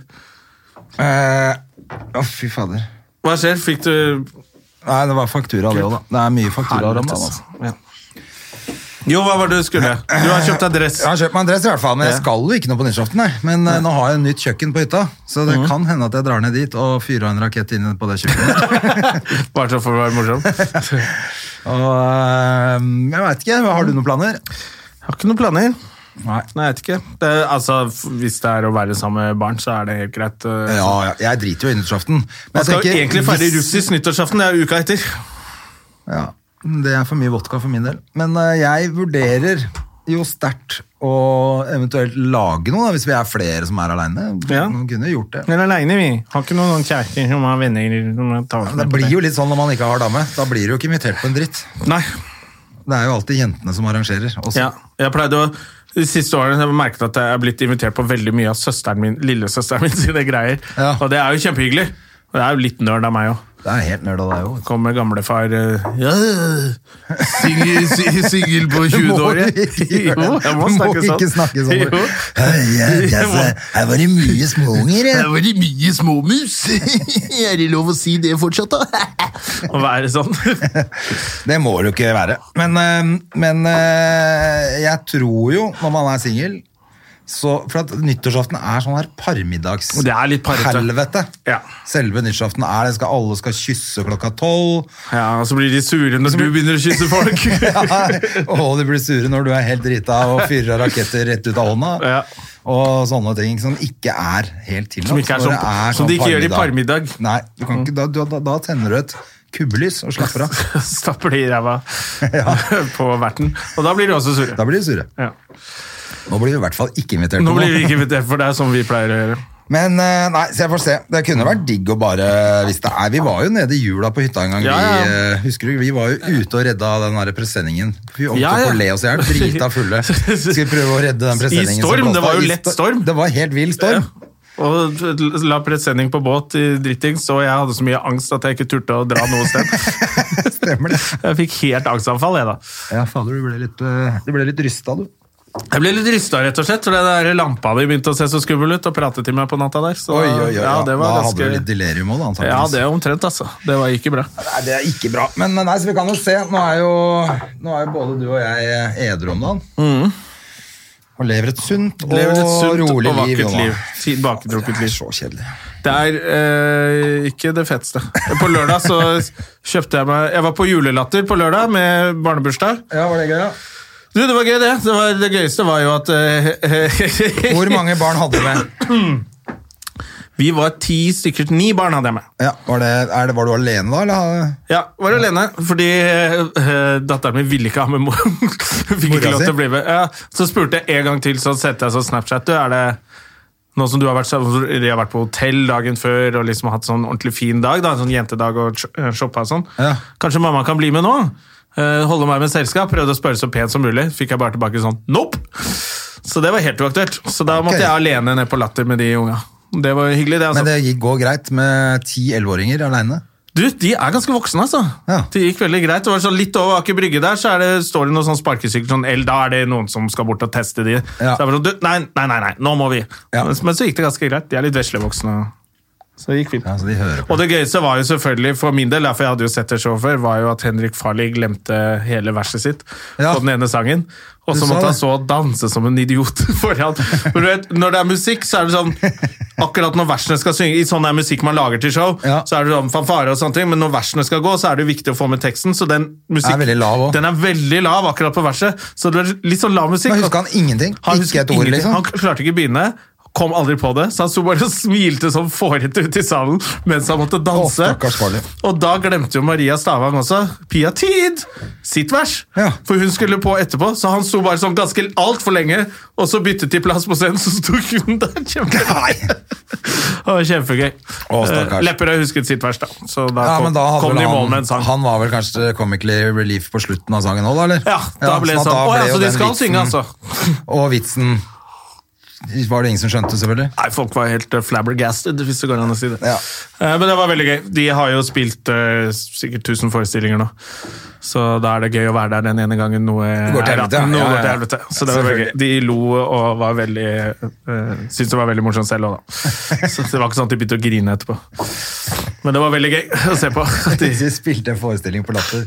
Eh, Å, fy fader. Hva skjer? Fikk du Nei, det var faktura, det òg, da. Det er mye faktura. om dagen, altså. Ja. Jo, hva var det du skulle? Du har kjøpt deg dress. Jeg har kjøpt meg en dress, i hvert fall, men jeg Ja. skal jo ikke noe på nyttårsaften. nei. Men eh, nå har jeg nytt kjøkken på hytta, så Mhm. det kan hende at jeg drar ned dit og fyrer av en rakett inn på det kjøkkenet. Bare så for å være morsom. (laughs) Jeg Og øhm, jeg veit ikke. Har du noen planer? har ikke noen planer. Nei. Nei, jeg vet ikke. Det, er- altså, f- hvis det er å være sammen med barn, så er det helt greit. eh. Ja, ja, jeg driter jo i nyttårsaften. men Man jeg skal jo tenker, egentlig feire hvis- russisk nyttårsaften, det er jo uka etter. Ja, det er for mye vodka for min del. Men øh, jeg vurderer jo sterkt å eventuelt lage noe, da, hvis vi er flere som er aleine. Ja. Man Kunne gjort det. Men aleine, vi. Har ikke noen kjærester som har venner. Som tar oss Det med på blir det. jo litt sånn når man ikke har dame. Da blir du jo ikke invitert på en dritt. Nei. Det er jo alltid jentene som arrangerer. Også. Ja. Jeg pleide å de siste årene har jeg merket at jeg er blitt invitert på veldig mye av søsteren min, lillesøsteren min (laughs) sine greier. Ja. Og det er jo kjempehyggelig. Og det er jo litt nerd av meg òg. Det er helt nerd av deg òg. Kommer gamlefar eh, ja, singel- si- Singel (laughs) (laughs) på 20-året. (laughs) Jo, jeg må snakke sånn. ikke snakke sånn. (laughs) Jo. (laughs) Hei, jeg- jeg- Her var det mye småunger. jeg. var det mye småmus. (laughs) er det lov å si det fortsatt, da? (laughs) Å være sånn. (laughs) Det må det jo ikke være. Men, eh, men eh, jeg tror jo, når man er singel Så, for at nyttårsaften er sånn her parmiddags Det er litt parrete. helvete. Ja. Selve nyttårsaften er det, skal, alle skal kysse klokka tolv. Ja, og Så blir de sure når du begynner å kysse folk. (laughs) og de blir sure når du er helt drita og fyrer raketter rett ut av hånda. Ja. Og sånne ting som ikke er helt tillatt. Som ikke er når sånn- det som de ikke gjør i parmiddag. parmiddag. Nei, du kan ikke, da, du- da, da tenner du et kubbelys og slapper av. Stapper de i ræva (laughs) på verten. Og da blir de også sure. Da blir de sure. Ja. Nå blir vi i hvert fall ikke invitert. Nå på blir noe. vi ikke invitert, for det er sånn vi pleier å gjøre. Men eh, nei, så jeg får se. Det kunne vært digg å bare hvis det er, Vi var jo nede i jula på hytta en gang. Ja, ja. Vi, eh, husker du, vi var jo ute og redda den der presenningen. Vi holdt Ja, jo ja. på å le oss i hjel, drita (laughs) fulle. Skulle prøve å redde den presenningen. som storm, det kastet. var jo I lett sto- storm. Det var helt vill storm. Og la presenning på båt i drittings, og jeg hadde så mye angst at jeg ikke turte å dra noe sted. (laughs) Stemmer det. Jeg fikk helt angstanfall, jeg da. Ja, fader, du ble litt, eh, du ble litt rysta, du. Jeg ble litt rysta, rett og slett, for den der lampa di begynte å se så skummel ut og prate til meg på natta der. Så Oi, oi, oi. ja, det var da hadde du litt ganske... delirium òg, da. antageligvis. Ja, det er omtrent, altså. Det var ikke bra. Nei, det er ikke bra. Men men nei, så vi kan jo se. Nå er jo, nå er jo både du og jeg eh, edru om dagen. Og lever et sunt og Mm. Lever et sunt og rolig liv. vakkert Jonna. liv. Tilbaketrukket Det liv. er så kjedelig. Det er eh, ikke det feteste. På lørdag så kjøpte jeg meg Jeg var på julelatter på lørdag med barnebursdag. Ja, var det gøy, da? Du, det var gøy, det. Det, var, det gøyeste var jo at eh, (laughs) Hvor mange barn hadde du med? Vi var ti stykker. Ni barn hadde jeg med. Ja, var, det, er det, var du alene da, eller? Ja, var alene, fordi eh, datteren min ville ikke ha med mor. (laughs) Fikk Mora ikke lov si? til å bli med. Ja, så spurte jeg en gang til, så sendte jeg sånn Snapchat. Du, er det nå som du har vært, så- de har vært på hotell dagen før og liksom hatt sånn ordentlig fin dag, da, en sånn jentedag og sh- eh, shoppa og sånn. Ja. Kanskje mamma kan bli med nå? Eh, holde meg med selskap? Prøvde å spørre så pent som mulig. Fikk jeg bare tilbake sånn nope! Så det var helt uaktuelt. Så da måtte Ok. jeg alene ned på Latter med de unga. Det var hyggelig, det. altså. Men det gikk- går greit med ti elleveåringer alene? Du, de er ganske voksne, altså. Ja. Det gikk veldig greit. Det var sånn Litt over Aker Brygge der så er det, står det noen sånn sparkesykler sånn L, da er det noen som skal bort og teste de. Ja. Så jeg var sånn, du, nei, nei, nei, nei, nå må vi. Ja. Men, men så gikk det ganske greit. De er litt veslevoksne. Så det gikk fint. Ja, så de hører på. Og det gøyeste var jo selvfølgelig, for min del, for jeg hadde jo sett det showet før, var jo at Henrik Farley glemte hele verset sitt Ja. på den ene sangen. Og Du så sa måtte han det. så danse som en idiot (laughs) foran. Men du vet, når det er musikk, så er det sånn Akkurat når versene skal synge, i sånn er musikk man lager til show, Ja. så er det sånn fanfare og sånne ting, men når versene skal gå, så er det jo viktig å få med teksten, så den musikk, Er veldig lav også. den er veldig lav akkurat på verset. Så det er litt sånn lav musikk. Men husker han ingenting? Han ikke husket et ord, ingenting. liksom? Han klarte ikke å begynne. Kom aldri på det, så han sto bare (laughs) og smilte som fårete ute i salen mens han måtte danse. Å, stakkars Farley. og da glemte jo Maria Stavang også Pia Tid sitt vers, Ja. for hun skulle på etterpå. Så han sto bare sånn ganske altfor lenge, og så byttet de plass på scenen, (laughs) så sto hun der. Kjempe. (laughs) Nei! (laughs) Det var kjempegøy. Å, stakkars. Eh, Lepperød husket sitt vers, da. Så da Ja, kom, men da hadde kom de vel i mål med han, en sang. han var vel kanskje comically relief på slutten av sangen òg, da? eller? ja, da ble det at sånn. da Å ja, ble jo så de den skal vitsen- synge, altså. (laughs) Og vitsen var det ingen som skjønte, selvfølgelig. Nei, folk var helt eh, flabbergasted, hvis det går an å si det. Ja. Eh, men det var veldig gøy. De har jo spilt eh, sikkert 1000 forestillinger nå, så da er det gøy å være der den ene gangen noe går til er- helvete, ja. noe Ja, ja, går til ja. helvete. Så det var veldig gøy. De lo og var veldig eh, syntes det var veldig morsomt selv òg, da. (laughs) Så det var ikke sånn at de begynte å grine etterpå. Men det var veldig gøy å se på. (laughs) at (laughs) De, Vi spilte en forestilling på Latter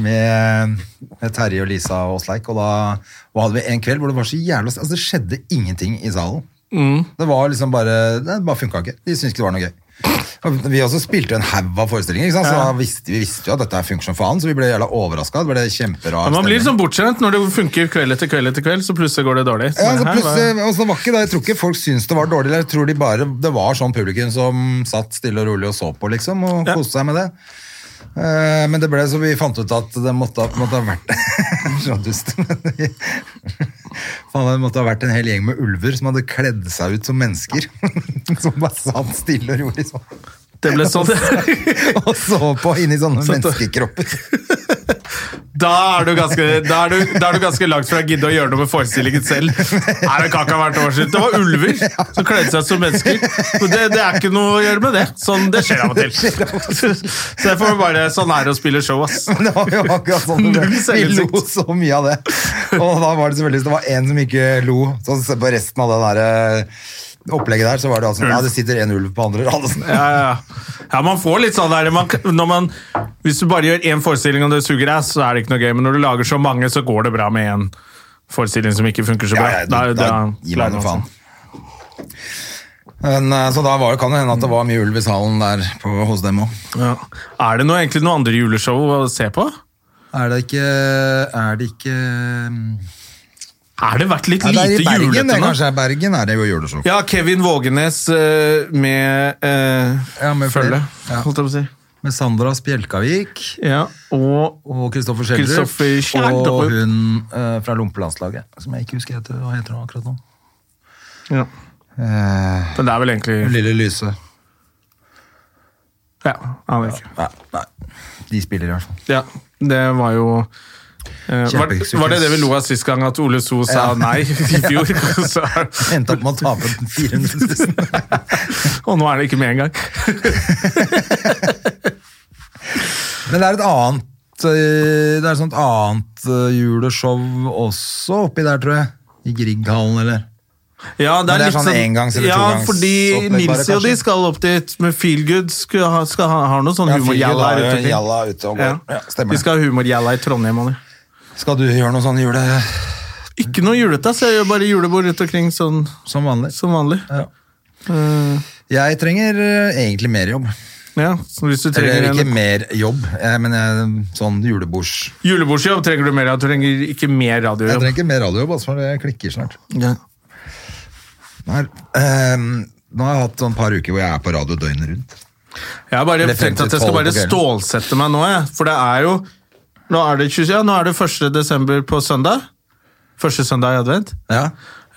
med, med Terje og Lisa og Åsleik, og da og hadde vi en kveld hvor det var så jævla altså Det skjedde ingenting i salen. Mm. Det var liksom bare Det bare funka ikke. De syntes ikke det var noe gøy. Og vi også spilte en haug av forestillinger, ikke sant? så da visste, vi visste jo at dette her funker som faen, så vi ble jævla overraska. Det ble kjemperar Ja, man blir stemning. sånn bortskjemt når det funker kveld etter kveld, etter kveld, så plutselig går det dårlig. Så Ja, her altså var- plutselig, og så var ikke det, Jeg tror ikke folk syntes det var dårlig. eller Jeg tror de bare, Det var sånn publikum som satt stille og rolig og så på, liksom, og Ja. koste seg med det. Eh, men det ble så vi fant ut at det måtte, ha- måtte ha vært (laughs) Så dust. men vi- Faen, det måtte ha vært en hel gjeng med ulver som hadde kledd seg ut som mennesker. (laughs) som bare satt stille og rolig sånn. Det ble sånn. (laughs) Og så på inni sånne Satt og- menneskekropper. Da er, du ganske, da, er du, da er du ganske langt fra å gidde å gjøre noe med forestillingen selv. Nei, det kan ikke ha vært årsskift. Det var ulver som kledde seg som mennesker. Men det, det er ikke noe å gjøre med det. Sånn, Det skjer av og til. Så jeg får bare Sånn er det å spille show, ass. Men (laughs) det var jo akkurat sånn det Null ble. Vi selvinnsikt. lo så mye av det. Og da var det selvfølgelig Det var en som ikke lo. Så se på resten av det der eh, opplegget der, så var det altså Ja, det sitter en ulv på andre rad. altså. Ja, ja. ja, man får litt sånn der man, når man, Hvis du bare gjør én forestilling og det suger ass, så er det ikke noe gøy. Men når du lager så mange, så går det bra med én. forestilling som ikke funker så bra. Ja, ja, Da er- altså. da da sånn. gir man lærer jo seg. faen. Men, eh, så da var, det- kan det hende at det var mye ulv i salen der på, hos dem òg. Ja. Er det noe, egentlig noe andre juleshow å se på? Er det ikke Er det ikke ja, Har det vært litt Det er i lite Bergen, det julete nå? kanskje. er Bergen er det jo juleshow. Ja, Kevin Vågenes eh, med, eh, Ja, med flere. følge, Ja. holdt jeg på å si. Med Sandra Spjelkavik Ja, og og Kristoffer Schjelderup. Kristoffer Schjelderup. Og hun eh, fra Lompelandslaget, som jeg ikke husker heter, hva heter hun akkurat nå. ja. Eh, Men det er vel egentlig Lille Lyse. Ja, aner ikke. Nei, nei. De spiller i hvert fall. Ja, det var jo eh, var, Kjempesuksess. var det det vi lo av sist gang, at Ole So sa Ja. (laughs) nei i fjor? Så, Endte opp med å tape 400 (laughs) 000. og nå er det ikke med engang. Men det er et annet eh, Det er et sånt annet eh, juleshow også oppi der, tror jeg. I Grieghallen, eller? Ja, det Men er, det er litt sånn engangs- eller ja, togangs- fordi opplegg bare, Nilsi og de kanskje? skal opp dit med Feelgood. Skal ha, skal ha, har noe sånn Ja, Feelgood humorgjalla har jo rundt omkring. gjalla ute og går. Ja, stemmer de det. skal ha humorgjalla i Trondheim. og det. Skal du gjøre noe sånn jule Ikke noe julete, så jeg gjør bare julebord rundt omkring sånn som vanlig? som vanlig. Ja. Jeg trenger eh, egentlig mer jobb. Ja, så hvis du Eller trenger ikke en mer jobb, eh, men jeg- sånn julebords... julebordsjobb, trenger du mer. ja. Du trenger ikke mer Jeg radiojobb. trenger ikke mer radiojobb, altså, for jeg klikker snart. Ja. Nei, eh, nå har jeg hatt sånn par uker hvor jeg er på radio døgnet rundt. Jeg har bare Eller frem tenkt at til jeg skal tolv bare på kvelden. stålsette meg nå, jeg. For det er jo Nå er det, 20, ja, nå er det 1. desember på søndag. Første søndag i advent. Ja.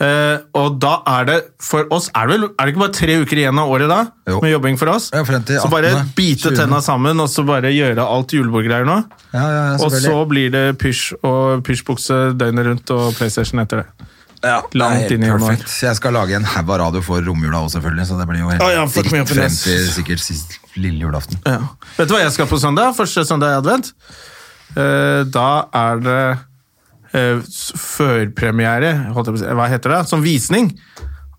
Eh, og da er det for oss Er det, vel, er det ikke bare tre uker igjen av året da? Jo. Med jobbing for oss? Ja, frem til så bare 18., bite 20.. tenna sammen og så bare gjøre alt julebordgreier nå. Ja, ja, ja, og så selvfølgelig. blir det pysj og pysjbukse døgnet rundt og PlayStation etter det. Ja, langt det er helt inn i januar. perfekt. Jeg skal lage en haug av radio for romjula òg, selvfølgelig. Så det blir jo helt Å, ja, fuck me up, sikkert frem yes. til sikkert sist lille julaften. Ja. Vet du hva jeg skal på søndag? Første søndag i advent. Eh, da er det eh, s- førpremiere, holdt jeg på å si, hva heter det, som visning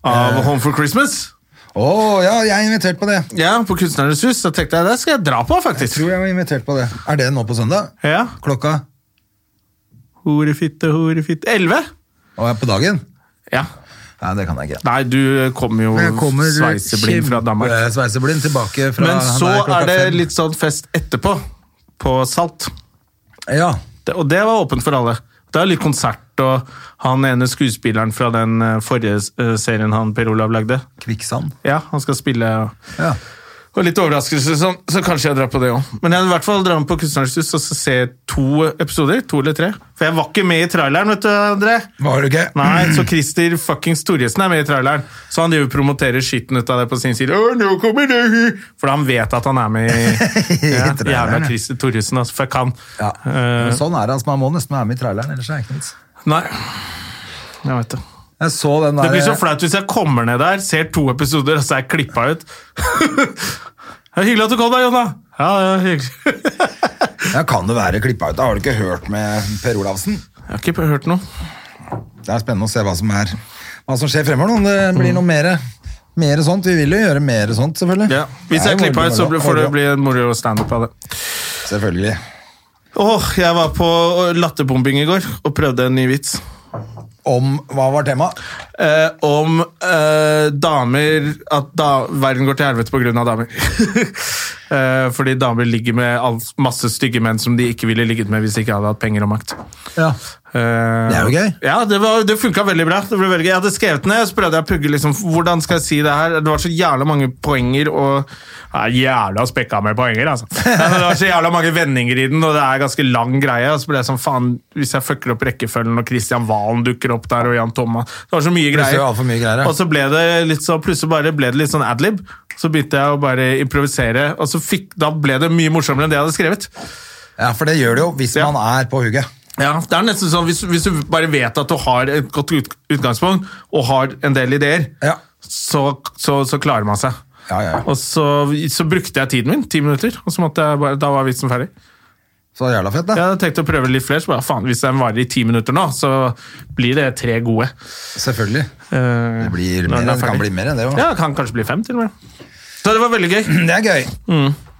av Home for Christmas. Å ja, jeg er invitert på det! Ja, På Kunstnernes hus. Så tenkte jeg det skal jeg dra på, faktisk. Tror jeg var invitert på det. Er det nå på søndag? Ja. Klokka? Horefitte, horefitte 11? Å, ja, på dagen? Ja. Nei, det kan jeg ikke. Nei, du eh, kommer jo Jeg kommer sveiseblind fra Danmark. kjempe- Sveiseblind tilbake fra Men så Nei, klokka er det fem. litt sånn fest etterpå, på Salt. Ja. Det, og det var åpent for alle. Det er litt konsert, og han ene skuespilleren fra den eh, forrige eh, serien han Per Olav lagde. Kvikksand. Ja, han skal spille og- Ja. Og litt overraskelse, så, så kanskje jeg drar på det òg. Men jeg vil i hvert fall dra med på Kunstnerens hus og så se to episoder. To eller tre. For jeg var ikke med i traileren, vet du, André. Var du ikke? Nei, så Christer fuckings Torjesen er med i traileren. Så han driver og promoterer skitten ut av det på sin side. Åh, nå kommer det hu!» For han vet at han er med (laughs) i ja, traileren, Jævla ja. Christer Torjesen, altså. Fuck han. Ja. Eh, Men sånn er det. altså Man må nesten være med i traileren, ellers er det ikke noe vits. Nei. Jeg vet det. Jeg så den der Det blir så flaut hvis jeg kommer ned der, ser to episoder, og så er jeg klippa ut. (laughs) det er hyggelig at du kom deg, Jonna. Ja, det er hyggelig. Ja, kan det være klippa ut? da? Har du ikke hørt med Per Olavsen? Jeg har ikke hørt noe. Det er spennende å se hva som, er, hva som skjer fremover. nå, Om det Mm. blir noe mer, mer sånt. Vi vil jo gjøre mer sånt, selvfølgelig. Ja. Hvis Det jeg er jo klipper moro, ut, så moro, får det moro. bli en moro standup av det. Selvfølgelig. Åh, jeg var på latterbombing i går og prøvde en ny vits. Om Hva var temaet? eh, om eh, damer At da, verden går til helvete pga. damer. (laughs) eh, fordi damer ligger med all, masse stygge menn som de ikke ville ligget med hvis de ikke hadde hatt penger og makt. Ja. Eh, Det er jo gøy. Ja, det, var- det funka veldig bra. Det ble veldig gøy. Jeg hadde skrevet ned, og så prøvde jeg å pugge liksom, hvordan skal jeg si det her. Det var så jævla mange poenger og ja, Jævla spekka med poenger, (laughs) altså. Men det var så jævla mange vendinger i den, og det er en ganske lang greie. Og så ble jeg sånn, faen, hvis jeg fucker opp rekkefølgen, og Christian Valen dukker opp der, og Jan Thomas Det var så mye Plutselig greier. var det for mye greier, ja. Og så ble det litt så, plutselig bare ble det litt sånn adlib. Så begynte jeg å bare improvisere, og så fikk, da ble det mye morsommere enn det jeg hadde skrevet. ja, for det gjør det jo hvis Ja. man er på hugget. Ja, det er nesten sånn hvis, hvis du bare vet at du har et godt ut, utgangspunkt og har en del ideer, Ja. så, så, så klarer man seg. Ja, ja, ja. Og så, så brukte jeg tiden min, ti minutter, og så måtte jeg bare, da var vitsen ferdig. Så jævla fett, Jeg da. hadde tenkt å prøve litt flere, så bare faen, hvis den varer i ti minutter nå, så blir det tre gode. Selvfølgelig. Eh, Det, blir når mer, den er det kan ferdig. (clears throat) bli mer enn det òg. Ja, det kan kanskje bli fem til og med. Så det var veldig gøy. Det er gøy.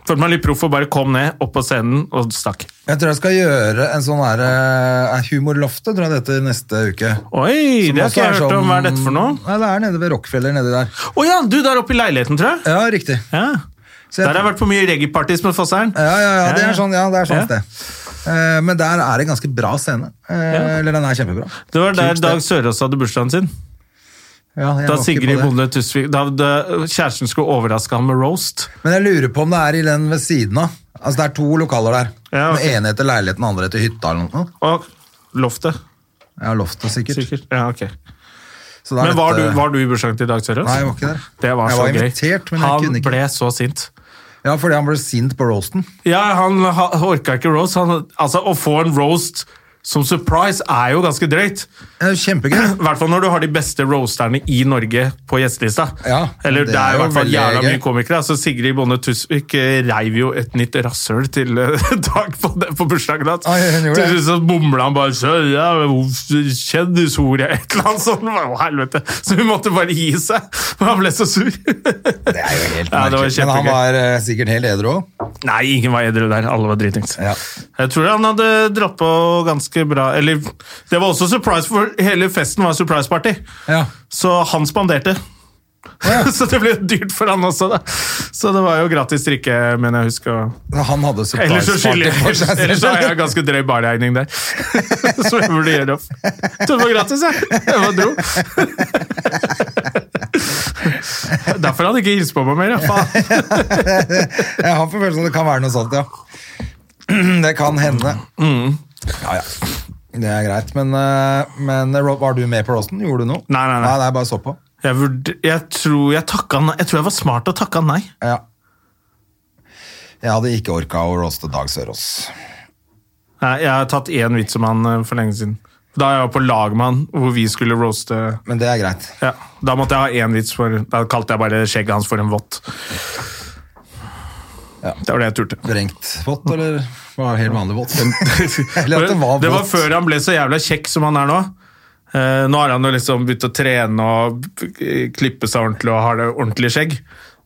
Følte meg litt proff og bare kom ned, opp på scenen og stakk. Jeg tror jeg skal gjøre en sånn her eh, Humorloftet, tror jeg det heter, neste uke. Oi, Som det har også ikke jeg hørt sånn- om. Hva er dette for noe? Nei, det er nede ved Rockefeller, nedi der. Å ja, du der oppe i leiligheten, tror jeg. Ja, riktig. Ja. Der Så jeg- har jeg vært på mye reggae-partys med Fosseren. Ja, ja, ja, det er sånn, ja, det er sånn Ja. sted. Eh, men der er det ganske bra scene. Eh, Eller den er kjempebra. Det var der Kult, Dag det. Sørås hadde bursdagen sin. Ja, jeg Da var ikke på Sigrid det. Bonde Tusvik Da da kjæresten skulle overraske ham med roast. Men jeg lurer på om det er i den ved siden av. Altså Det er to lokaler der. Ja, ok. Den ene heter leiligheten, den andre heter hytta. eller noe. Og loftet, Jeg har lovt det sikkert. sikkert. Ja, ok. Så da er Men var du, dette- var du i bursdagen til Dag Sørås? Nei, jeg var ikke der. Det var jeg så var gøy. invitert, men jeg han kunne ikke. ble så sint. Ja, fordi han ble sint på roasten. Ja, han ha- orka ikke roast. Han, altså, å få en roast som surprise er jo ganske drøyt. Det er jo Eh, Kjempegøy. I hvert fall når du har de beste roasterne i Norge på gjestelista. Ja, Eller det det er er jo i jo hvert fall veldig jævla gøy. mye komikere. Altså Sigrid Bonde Tusvik eh, reiv jo et nytt rasshøl til eh, (laughs) Dag på, det- på bursdagen hans. Oi, hun gjorde Til det. slutt så bomla han bare så, ja, kjendishore, et eller annet sånt. Det var jo helvete. Så hun måtte bare gi seg. (laughs) Men han ble så sur. (laughs) Det er jo helt Ja, det var merkelig. Men han kjempegøy. var eh, sikkert helt edru òg. Nei, ingen var edru der. Alle var dritings. Ja. Jeg tror han hadde dratt på ganske bra Eller, det var også surprise, for hele festen var surprise-party. Ja. Så han spanderte. (laughs) så det ble dyrt for han også, da. Så det var jo gratis drikke, men jeg husker. Han hadde Ellers så skylder surprise-party for jeg (laughs) seg Ellers så har jeg selv. ganske drøy barregning der. (laughs) så jeg burde gjøre det opp. Tror det var gratis, jeg. Jeg var dro. (laughs) Derfor hadde han ikke hilst på meg mer, ja. faen. Jeg har på følelsen at det kan være noe sånt, ja. (clears throat) Det kan hende. Mm. Ja, ja. Det er greit. Men, eh, men Rob, var du med på roasten? Gjorde du noe? Nei, nei, nei. nei, bare så på. Jeg, vurd- jeg, tror jeg, takka nei. jeg tror jeg var smart og takka nei. Ja. Jeg hadde ikke orka å roaste Dag Sørås. Nei, Jeg har tatt én vits om han eh, for lenge siden. Da jeg var på lag med han, hvor vi skulle roaste Men det er greit. ja, Da måtte jeg ha én vits, for da kalte jeg bare skjegget hans for en vott. Ja. Det var det jeg turte. Vrengt vått, eller var det helt vanlig vått? (laughs) Eller at det var det var vått. før han ble så jævla kjekk som han er nå. Eh, nå har han jo liksom begynt å trene og eh, klippe seg ordentlig og har det ordentlig skjegg.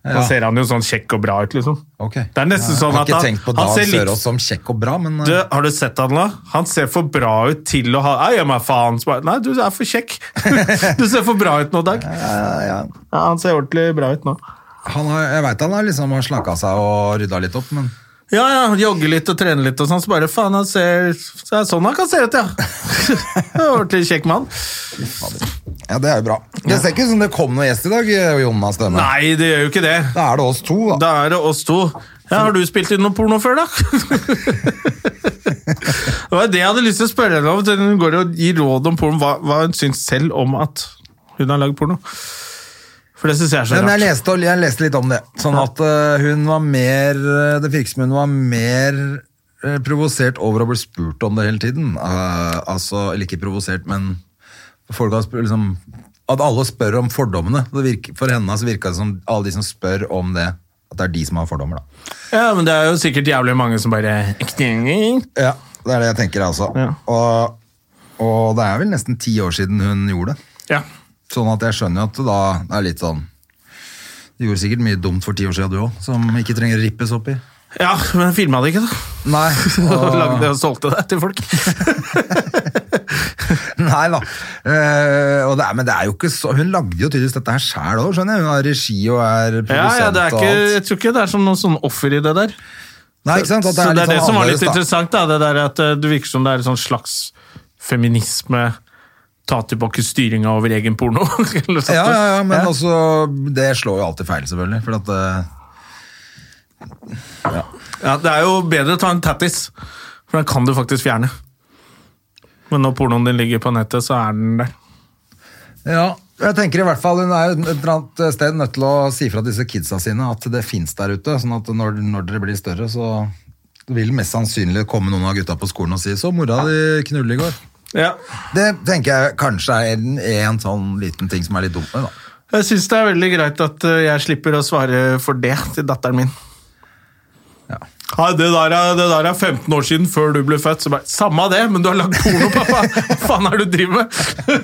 Da Ja. ser han jo sånn kjekk og bra ut, liksom. Ok. Det er nesten sånn jeg har at ikke han- tenkt på han Dag ser litt- Sørås som kjekk og bra, men eh, Du, har du sett han da? Han ser for bra ut til å ha Nei, gjør meg faen. Så bare, Nei, du er for kjekk. (laughs) Du ser for bra ut nå, Dag. eh, ja. Ja, han ser ordentlig bra ut nå. han har, jeg veit han har liksom har slanka seg og rydda litt opp, men Ja, ja, jogger litt og trener litt og sånn, så bare faen, han ser så er det Sånn han kan se ut, ja. (laughs) Det er Ordentlig kjekk mann. ja, det er jo bra. Det ser ikke ut som det kom noen gjest i dag, eh, Jonas Støme. Nei, det gjør jo ikke det. Da er det oss to, da. Da er det oss to. Ja, har du spilt inn noe porno før, da? (laughs) det var det jeg hadde lyst til å spørre henne om. til Hun går og gir råd om porno. Hva, hva hun syns selv om at hun har lagd porno. For det syns jeg er så Men jeg rart. leste, jeg leste litt om det. Sånn Ja. at eh, hun var mer eh, Det virker som hun var mer eh, provosert over å bli spurt om det hele tiden. Eh, altså, eller ikke provosert, men folk har spurt, liksom At alle spør om fordommene. Det virker, for henne så virka det som alle de som spør om det, at det er de som har fordommer, da. Ja, men det er jo sikkert jævlig mange som bare Ja, det er det jeg tenker, altså. Ja. Og, og det er vel nesten ti år siden hun gjorde det. Ja. Sånn at jeg skjønner jo at det da er litt sånn Du gjorde sikkert mye dumt for ti år siden, du òg, som ikke trenger å rippes opp i. ja, men filma det ikke, da. (laughs) Nei, Og og, lagde og solgte det til folk. nei da. Eh, og det er, men det er jo ikke så Hun lagde jo tydeligvis dette her sjæl òg, skjønner jeg. Hun har regi og er produsent Ja, ja, det er ikke, og alt. Jeg tror ikke det er som noen sånn offer i det der. Nei, ikke sant? At så det er det sånn som var litt annerledes, interessant, da. Det der at eh, det virker som det er en sånn slags feminisme. Ta tilbake styringa over egen porno. (laughs) eller sånt. da. Ja, ja, ja, men også Det slår jo alltid feil, selvfølgelig. For at eh, Ja, Det er jo bedre å ta en tattis, for den kan du faktisk fjerne. Men når pornoen din ligger på nettet, så er den der. Ja. Jeg tenker i hvert fall Hun er jo et eller annet sted nødt til å si fra disse kidsa sine at det fins der ute. Sånn at når, når dere blir større, så vil mest sannsynlig komme noen av gutta på skolen og si 'så mora di knulle i går'. Ja. Det tenker jeg kanskje er en, en sånn liten ting som er litt dumt med, da. Jeg syns det er veldig greit at eh, jeg slipper å svare for det til datteren min. Nei, det, der er, det der er 15 år siden, før du ble født. Så bare, Samme det, men du har lagd porno, (laughs) pappa! Hva faen er det du driver med?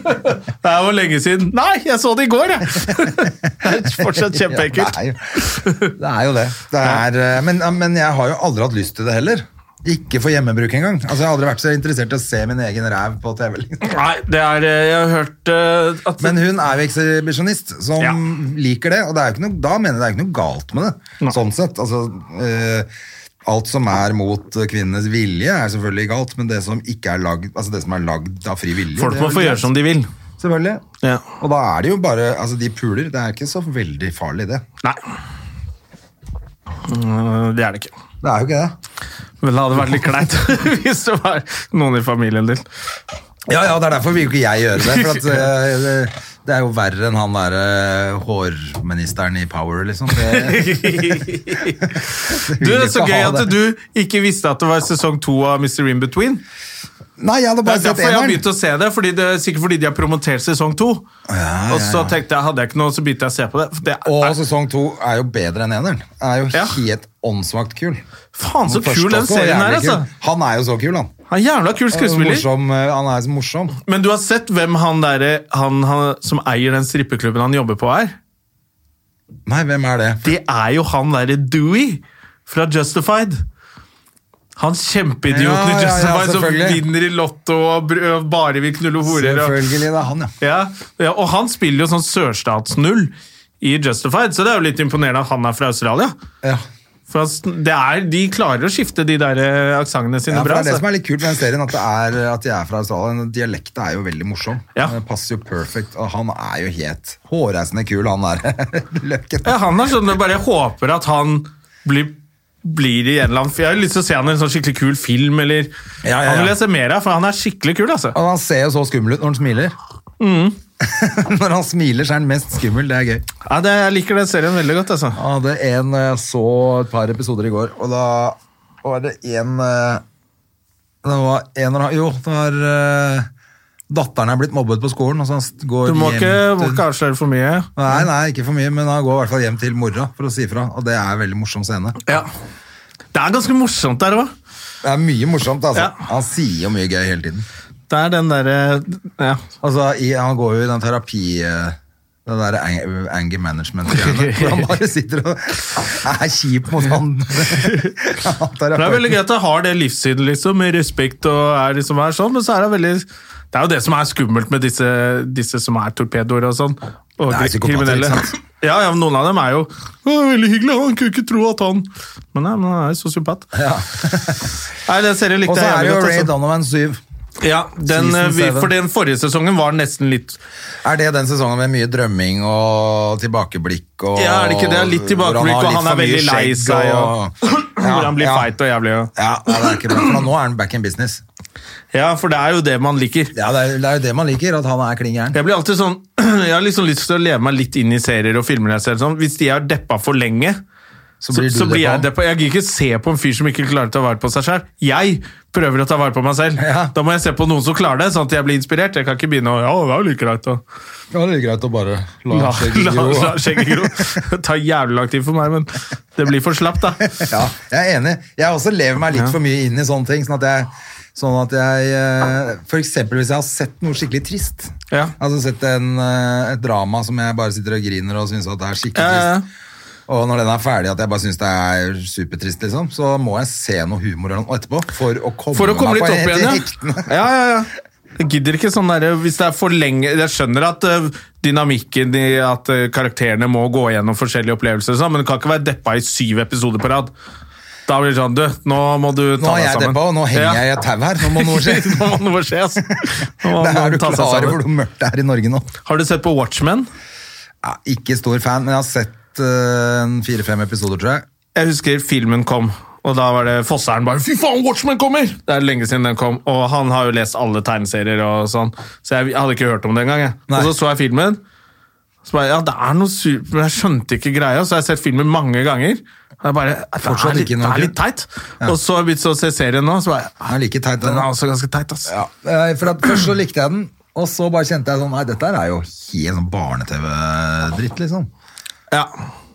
(laughs) Det er jo lenge siden. Nei, jeg så det i går, jeg! (laughs) Det er fortsatt kjempeekkelt. Ja, det, er jo, (laughs) det er jo det. det er, eh, men, men jeg har jo aldri hatt lyst til det heller. Ikke for hjemmebruk engang. Altså, jeg har aldri vært så interessert i å se min egen ræv på TV. Liksom. Nei, det er eh, Jeg har hørt eh, at Men hun er jo ekshibisjonist som Ja. liker det, og det er jo ikke noe, da mener jeg det er ikke noe galt med det. Nei. Sånn sett. Altså, eh, alt som er mot eh, kvinnenes vilje, er selvfølgelig galt, men det som ikke er lagd, altså det som er lagd av fri vilje folk det er må vel få greit. gjøre som de vil. Selvfølgelig. Ja. Og da er det jo bare Altså, de puler. Det er ikke så veldig farlig, det. Nei. Mm, Det er det ikke. Det er jo ikke det. Men det hadde vært litt kleint (laughs) hvis det var noen i familien din. (laughs) Ja, ja, det er derfor vil jo ikke jeg gjøre det. For at, eh, det, det er jo verre enn han derre eh, hårministeren i Power, liksom. Det, (laughs) Du, det er så ikke gøy ha at det. du ikke visste at det var sesong to av Mr. In Between. nei, jeg hadde Det er bare sett derfor jeg har begynt eneren. å se det, fordi det er sikkert fordi de har promotert sesong to. ja, Og så tenkte jeg, hadde jeg ikke noe, så begynte jeg å se på det. For det Og er, sesong to er jo bedre enn eneren. Er jo Ja. helt åndssvakt kul. faen, så Den første kul den også var serien er, jævlig kul. altså! Han er jo så kul, han. Han er jævla kul Han er jo skuespiller. Morsom, eh, han er så morsom. Men du har sett hvem han, der, han, han som eier den strippeklubben han jobber på, er? Nei, hvem er det? Det er jo han derre Dewey fra Justified. Han kjempeidioten Ja, ja, i ja, Justified som selvfølgelig. vinner i Lotto og br- og bare vil knulle horer. Og, Selvfølgelig, det er han, ja. ja, ja, og han spiller jo sånn sørstatsnull i Justified, så det er jo litt imponerende at han er fra Australia. ja. For han sn- det er, de klarer å skifte de der eh, aksentene sine Ja, for det bra. er det som altså. er litt kult med den serien, at, det er, at de er fra Australia. Dialekten er jo veldig morsom. Ja. Det passer jo perfekt. Og han er jo helt hårreisende kul, han der (laughs) løkken. Ja, han er sånn, jeg bare håper at han blir, blir i en eller annen... For jeg har lyst til å se han i en sånn skikkelig kul film, eller... Ja, ja, Han vil ja. jeg se mer av, for han er skikkelig kul, altså. Og han ser jo så skummel ut når han smiler. Mm. (laughs) når han smiler, så er han mest skummel. Det er gøy. Ja, det, jeg liker den serien veldig godt, altså. Jeg hadde en eh, så et par episoder i går, og da var det en eh, Det var en eller annen Jo, det var eh, Datteren er blitt mobbet på skolen, og så han s- går Du må hjem ikke, må til- ikke avsløre for mye. Nei, nei, ikke for mye, men han går i hvert fall hjem til mora for å si fra, og det er en veldig morsom scene. Ja. Det er ganske morsomt der òg. Det er mye morsomt, altså. Ja. Han sier jo mye gøy hele tiden. Det er den derre eh, ja. Altså, i, Han går jo i den terapi... eh, Det der ang- anger management-greiene. (laughs) hvor Han bare sitter og er kjip mot han. han Det er veldig gøy at jeg har det livssynet, liksom, med respekt og er liksom er sånn, men så er det veldig Det er jo det som er skummelt med disse, disse som er torpedoer og sånn. Og Det er psykopater, ikke sant? Ja, ja, men noen av dem er jo «Å, veldig hyggelig, han kunne ikke tro at han Men nei, men han er jo sosiopat. (laughs) Nei, den serien Og likte så jeg er det jo jævlig Ray godt. Donovan 7. Altså. Ja, den, Season eh, vi, seven. for den forrige sesongen var nesten litt Er det den sesongen med mye drømming og tilbakeblikk? Og, Ja, er det ikke det? Litt tilbakeblikk, hvor og han litt er for mye veldig lei skjegg seg, Ja, (clears throat) Hvor han blir ja. feit og jævlig. og- Ja, nei, det er ikke bra, for nå er han back in business. Ja, for det er jo det man liker. Ja, det er, det er jo det man liker, at han er kling gæren. Jeg blir alltid sånn, (clears throat) jeg har liksom lyst til å leve meg litt inn i serier og filmer. jeg ser sånn. Hvis de er deppa for lenge, så, så, blir du blir jeg deppa. deppa. Jeg gidder ikke se på en fyr som ikke klarer å ta vare på seg selv. Jeg prøver å ta vare på meg selv. Ja. Da må jeg se på noen som klarer det, sånn at jeg blir inspirert. Jeg kan ikke begynne å ja, det er jo like greit å Ja, det er greit å bare la la skjegget la- gro. (laughs) la skjegget gro. Det tar jævlig lang tid for meg, men det blir for slapt, da. (laughs) Ja, jeg er enig. Jeg også lever meg litt Ja. for mye inn i sånne ting. Sånn at jeg, sånn at jeg eh, For eksempel hvis jeg har sett noe skikkelig trist. Ja. Altså sett en, eh, et drama som jeg bare sitter og griner og syns at det er skikkelig Ja, ja, ja. trist. Og når den er ferdig, at jeg bare syns det er supertrist, liksom, så må jeg se noe humor eller noe etterpå for å komme, For å komme litt meg på opp igjen, rikten. (laughs) ja. ja, ja, ja. Jeg gidder ikke sånn der, hvis det er for lenge Jeg skjønner at øh, dynamikken i at øh, karakterene må gå gjennom forskjellige opplevelser, og sånn, men du kan ikke være deppa i syv episoder på rad. Da blir det sånn Du, nå må du Nå ta er deg jeg sammen. deppa, og nå henger Ja. jeg i et tau her. Nå må noe skje. nå må noe skje, ass. (laughs) Nå må (laughs) Det man er du ta klar seg over sammen. hvor mørkt det er i Norge nå? Har du sett på Watchmen? Ja, ikke stor fan, men jeg har sett eh, en fire-fem episoder, tror jeg. Jeg husker filmen kom, og da var det Fosseren bare 'Fy faen, Watchmen kommer!' Det er lenge siden den kom, og han har jo lest alle tegneserier og sånn, så jeg hadde ikke hørt om det engang. jeg. Nei. Og så så jeg filmen, så bare Ja, det er noe super Men jeg skjønte ikke greia, så jeg har sett filmen mange ganger. Og jeg bare, det, Fortsatt er litt, ikke det noe er litt teit. Og så har jeg begynt å se serien nå, så bare Den er like teit, den Den er da. også ganske teit, ass. Ja, eh, for at Først så likte jeg den, og så bare kjente jeg sånn Nei, dette her er jo helt sånn barne-TV-dritt, liksom. Ja.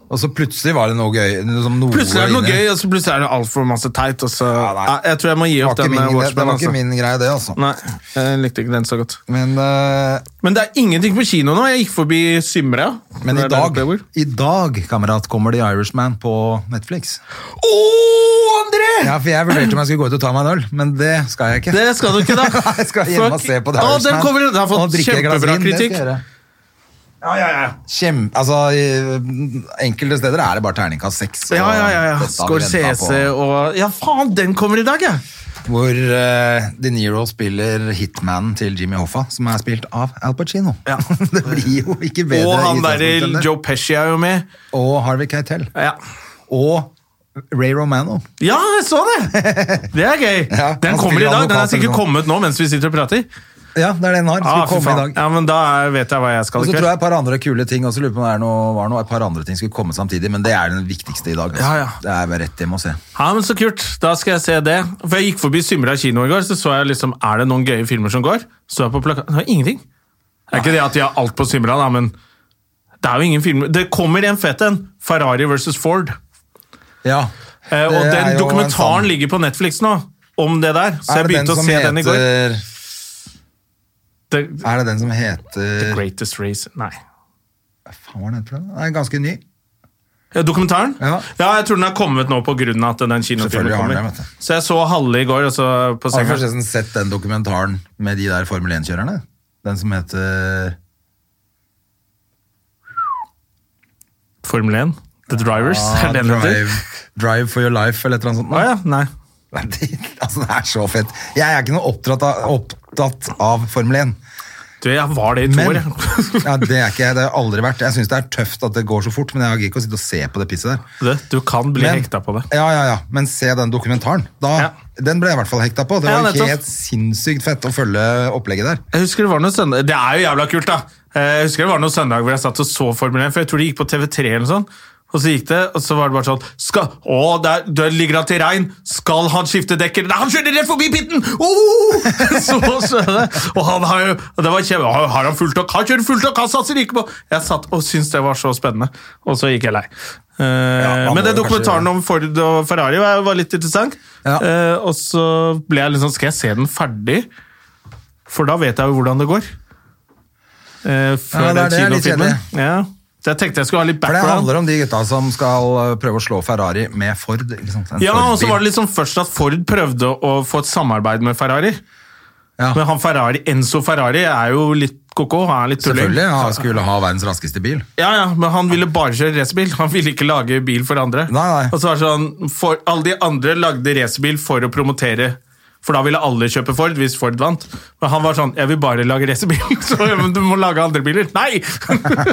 Og så plutselig var det noe gøy. Liksom noe Plutselig er det noe inni. gøy, og så plutselig er det altfor masse teit. Og så, Ja, nei. Nei, jeg tror jeg må gi Det var opp ikke den eh, min, det, det Watchmen. var ikke Altså. min greie, det, altså. Nei, jeg likte ikke den så godt. Men, eh, Men det er ingenting på kino nå. Jeg gikk forbi Simra. men Det er i der dag, det bor. i dag, kamerat, kommer The Irishman på Netflix. Å, André! Ja, for jeg vurderte om jeg skulle gå ut og ta meg en øl, men det skal jeg ikke. Det skal du ikke, da. Nei, (laughs) jeg skal hjem og Fuck. se på The Å, Irishman. den kommer, den har Og fått drikke et glass kjempebra vin, det skal jeg kritikk. gjøre. Ja, ja, ja. Kjem, altså, i enkelte steder er det bare terningkast seks. og Ja, ja, ja, ja. dette har vi ventet på. Scorsese og Ja, faen, den kommer i dag, ja! Hvor eh, De Niro spiller hitmanen til Jimmy Hoffa, som er spilt av Al Pacino. Ja. (laughs) det blir jo ikke bedre. Og han i derre utgangspunktet. Joe Pesci er jo med. Og Harvey Keitel. Ja. Og Ray Romano. ja, jeg så (laughs) det! Det er gøy. Ja, Den han kommer i dag. Den spiller er advokat eller sikkert noe. kommet nå mens vi sitter og prater. Ja, det er det den har. Skulle Ah, fy komme i faen. dag. Ja, men Da er- vet jeg hva jeg skal i Og så tror kveld. jeg et par andre kule ting også, lurer på om det er noe, var noe, et par andre ting skulle komme samtidig, men det er den viktigste i dag. altså. Ja, ja. Det er bare rett hjem og se. Ja, men Så kult. Da skal jeg se det. For Jeg gikk forbi Symra kino i går, så så jeg liksom Er det noen gøye filmer som går. Så jeg på plakaten Det var ingenting. Det er ikke det at de har alt på Symra, da, men det er jo ingen filmer. Det kommer en fet en. Ferrari versus Ford. Ja. Eh, og Det er den jo en dokumentaren sånn- ligger på Netflix nå, om det der. Så Er jeg det begynte å se den i går. heter- The, Er det den som heter Greatest Race Nei. Hva faen var den heter? for noe? Den er ganske ny. Ja, dokumentaren? Ja. jeg tror den er kommet nå pga. at den kinofilmen Selvfølgelig har den kommer. det, vet så jeg så halve i går. Og så på Har du senga. forresten sett den dokumentaren med de der Formel 1-kjørerne? Den (laughs) som heter Formel 1. The Drivers. ah, er den den heter? Drive, Drive for your life, eller et eller annet sånt. Å ja, nei. Nei, det- altså, det er så fett. Jeg er ikke noe opptatt av, opptatt av Formel 1. Du, jeg var det i to Men, år. jeg. (laughs) ja, det er ikke jeg. Det har jeg aldri vært. Jeg syns det er tøft at det går så fort, men jeg gidder ikke å sitte og se på det pisset der. Du, du kan bli Men- hekta på det. Ja, ja, ja. Men se den dokumentaren. Da, Ja. Den ble jeg i hvert fall hekta på. Det Ja, var nettopp. helt sinnssykt fett å følge opplegget der. Jeg husker Det var noe søndag Det er jo jævla kult, da! Eh, Jeg husker det var noen søndag hvor jeg satt og så Formel 1, for jeg tror det gikk på TV3 eller noe sånt. Og så gikk det, og så var det bare sånn skal, Å, der, der ligger han til regn! Skal han skifte dekker? Nei, han kjører rett forbi pitten! Oh! (laughs) Så skjønner jeg. Og han har jo og det var kjempe, har- Har han fullt nok? Han kjører fullt nok! Han satser ikke på Jeg satt og syntes det var så spennende, og så gikk jeg lei. Eh, han men den må jo kanskje dokumentaren om Ford og Ferrari var, var litt interessant. Ja. Eh, og så ble jeg litt sånn Skal jeg se den ferdig? For da vet jeg jo hvordan det går. Eh, før den Ja, det er det jeg er litt kinofilmen. Ja. Så jeg tenkte jeg skulle ha litt For det background. handler om de gutta som skal uh, prøve å slå Ferrari med Ford. Ikke sant? En Ja, og så Ford-bil. var det liksom først at Ford prøvde å få et samarbeid med Ferrari. Ja. Men han Ferrari, Enzo Ferrari er jo litt ko-ko. Han er litt tulling. Selvfølgelig. Han skulle ha verdens raskeste bil. Ja, ja, men han ville bare kjøre racerbil. Han ville ikke lage bil for andre. Nei, nei. Og så var det sånn, for, Alle de andre lagde racerbil for å promotere, for da ville alle kjøpe Ford hvis Ford vant. Men han var sånn 'Jeg vil bare lage racerbil', (laughs) så ja, men du må lage andre biler. Nei!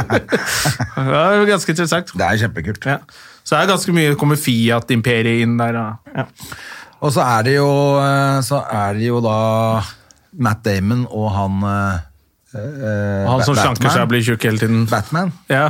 (laughs) det er jo ganske interessant. Det er kjempekult. Ja. Så det er ganske mye kommer Fiat-imperiet inn der. da. Ja. Og så er det jo uh, Så er det jo da Matt Damon og han uh, uh, Han som Ba- slanker seg og blir tjukk hele tiden. Batman, Ja.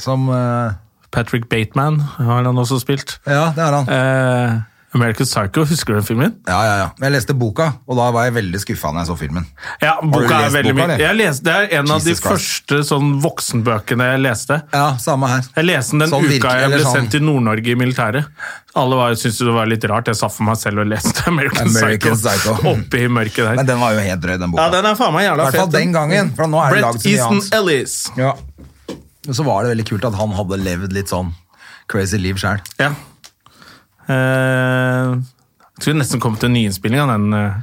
som uh, Patrick Bateman har han også spilt. Ja, det er han. Eh, American Psycho, husker du den filmen? Ja, ja, ja. Men Jeg leste boka, og da var jeg veldig skuffa når jeg så filmen. Ja, du boka er lest veldig boka, mye. eller? Jeg leste, det er en av de Jesus Christ. første sånn voksenbøkene jeg leste. Ja, samme her. Jeg leste den den Sånn uka virker- jeg eller ble sånn- sendt til Nord-Norge i militæret. Alle var, syntes det var litt rart. Jeg satt for meg selv og leste (laughs) American, American Psycho, Psycho. (laughs) oppe i mørket der. Men den var jo helt drøy, den boka. ja, den er faen meg I jævla hvert fall fet. den gangen, for nå er det Brett lagd så mye Easton annet. Ellis. Ja. Men så var det veldig kult at han hadde levd litt sånn crazy liv sjøl. Ja. Eh, jeg tror nesten kom til en nyinnspilling av den, eh,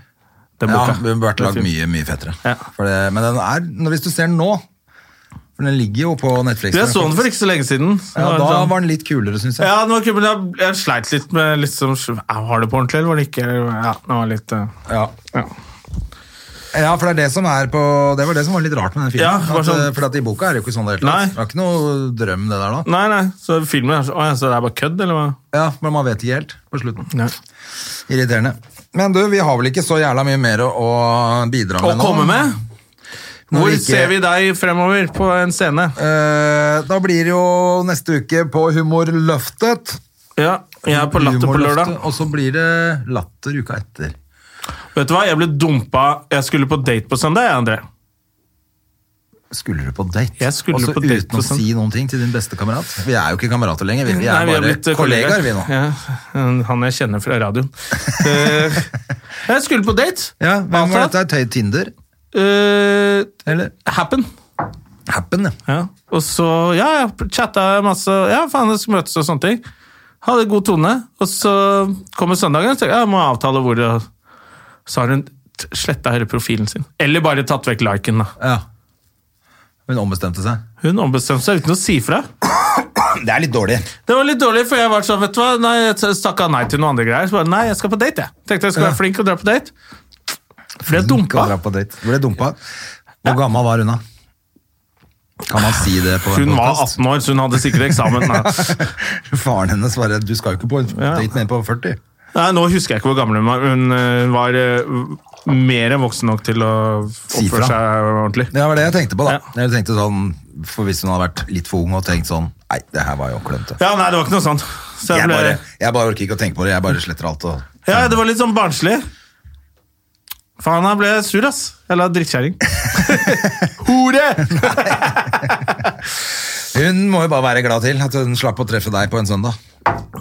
den Ja, boka. det burde vært lagd mye, mye fettere. Ja. For det, men den er, når- hvis du ser den nå For den ligger jo på Netflix. Jeg så den sånn for ikke så lenge siden. ja, Det var Da sånn- var den litt kulere, syns jeg. Ja, det var kult, men jeg, jeg sleit litt med liksom, Var det på ordentlig, eller var det ikke? Ja, det var litt... eh, Ja. Ja. Ja, for det er det som er på Det var det som var litt rart med den filmen. Ja, det var at, sånn- eh, For at i boka er det jo ikke sånn det hele Nei. tatt. Det var ikke noe drøm, det der da. Nei, nei, så filmen er så... Åja, så det er bare kødd, eller hva? Ja, Men man vet ikke helt på slutten. Nei. Irriterende. Men du, vi har vel ikke så jævla mye mer å, å bidra Å med nå? komme med? Når Hvor vi ikke- ser vi deg fremover på en scene? Eh, da blir det jo neste uke på Humorløftet. Ja, jeg er på latter på lørdag. Humorløftet, Og så blir det Latter uka etter. Vet du hva, jeg ble dumpa... Jeg skulle på date på søndag, jeg, André. skulle du på date? Jeg skulle Også på date, uten å for sant. si noen ting til din beste kamerat? Vi er jo ikke kamerater lenger, vi, vi er Nei, bare blitt, eh, kollegaer, vi nå. Ja, han jeg kjenner fra radioen. Eh, jeg skulle på date. Ja, hvem var Altså, dette? her? Tøy- Tinder? eh, Eller happen. Happen, ja. Ja. Og så ja, jeg chatta masse. Ja, faen, jeg skal møtes og sånne ting. Hadde god tone. Og så kommer søndagen, så tenkte jeg, jeg må avtale hvor det Så har hun sletta hele profilen sin. Eller bare tatt vekk liken, da. ja. Hun ombestemte seg. Hun ombestemte seg uten å si fra. Det er litt dårlig. Det var litt dårlig, for jeg var sånn, vet du hva, nei, jeg stakk av nei til noen andre greier. Så bare, nei, jeg skal på date, jeg. Tenkte jeg skulle være flink og dra på date. Ble dumpa. Skal dra på date. Ble dumpa. Hvor gammel var hun da? Kan man si det på en Hun var podcast? 18 år, så hun hadde sikkert eksamen. (laughs) Nei, Faren hennes bare Du skal jo ikke på en Ja. date med en på 40. nei nå husker jeg ikke hvor gammel hun var. Hun øh, var øh, mer enn voksen nok til å Si fra. oppføre seg ordentlig. Det var det jeg tenkte på, da. Ja. Jeg tenkte sånn, for Hvis hun hadde vært litt for ung og tenkt sånn Nei, det her var jo klønete. Ja, nei, det var ikke noe sånt. Så jeg Jeg ble, bare, jeg bare orker ikke å tenke på det. Jeg bare sletter alt. Og, ja, det var litt sånn barnslig. Faen, jeg ble sur, ass. Eller drittkjerring. (laughs) Hore! hun må jo bare være glad til at hun slapp å treffe deg på en søndag.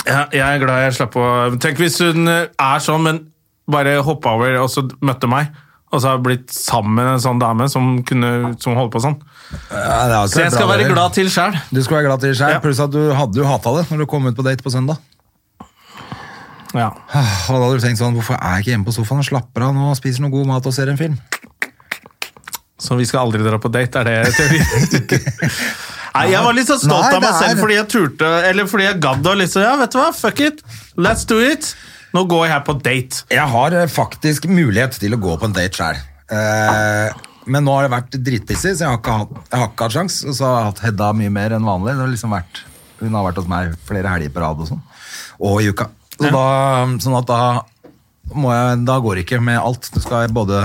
Ja, jeg er glad jeg slapp å Tenk hvis hun eh, er sånn, men bare hoppa over og så møtte meg. Og så har jeg blitt sammen med en sånn dame som, kunne, som holdt på sånn. Ja, det er jo ikke Så jeg bra, skal være det, vel? glad til sjæl. Du skal være glad til selv, Ja. Pluss at du hadde jo hata det når du kom ut på date på søndag. Ja. Og da hadde du tenkt sånn, Hvorfor er jeg ikke hjemme på sofaen og slapper av nå og spiser noe god mat og ser en film? Så vi skal aldri dra på date, er det (laughs) teorien? Nei, jeg var litt så stolt Nei, av meg det er- selv fordi jeg turte, eller fordi jeg gadd å liksom Ja, vet du hva, fuck it, let's do it. Nå går jeg her på date. Jeg har eh, faktisk mulighet til å gå på en date sjøl. men nå har det vært dritbissig, så jeg har ikke hatt, jeg har ikke hatt sjans. Og så har jeg hatt Hedda mye mer enn vanlig. Det har liksom vært, hun har vært hos meg flere helger på rad og sånn. Og i uka. Så da, sånn at da, må jeg, da går det ikke med alt. Du skal både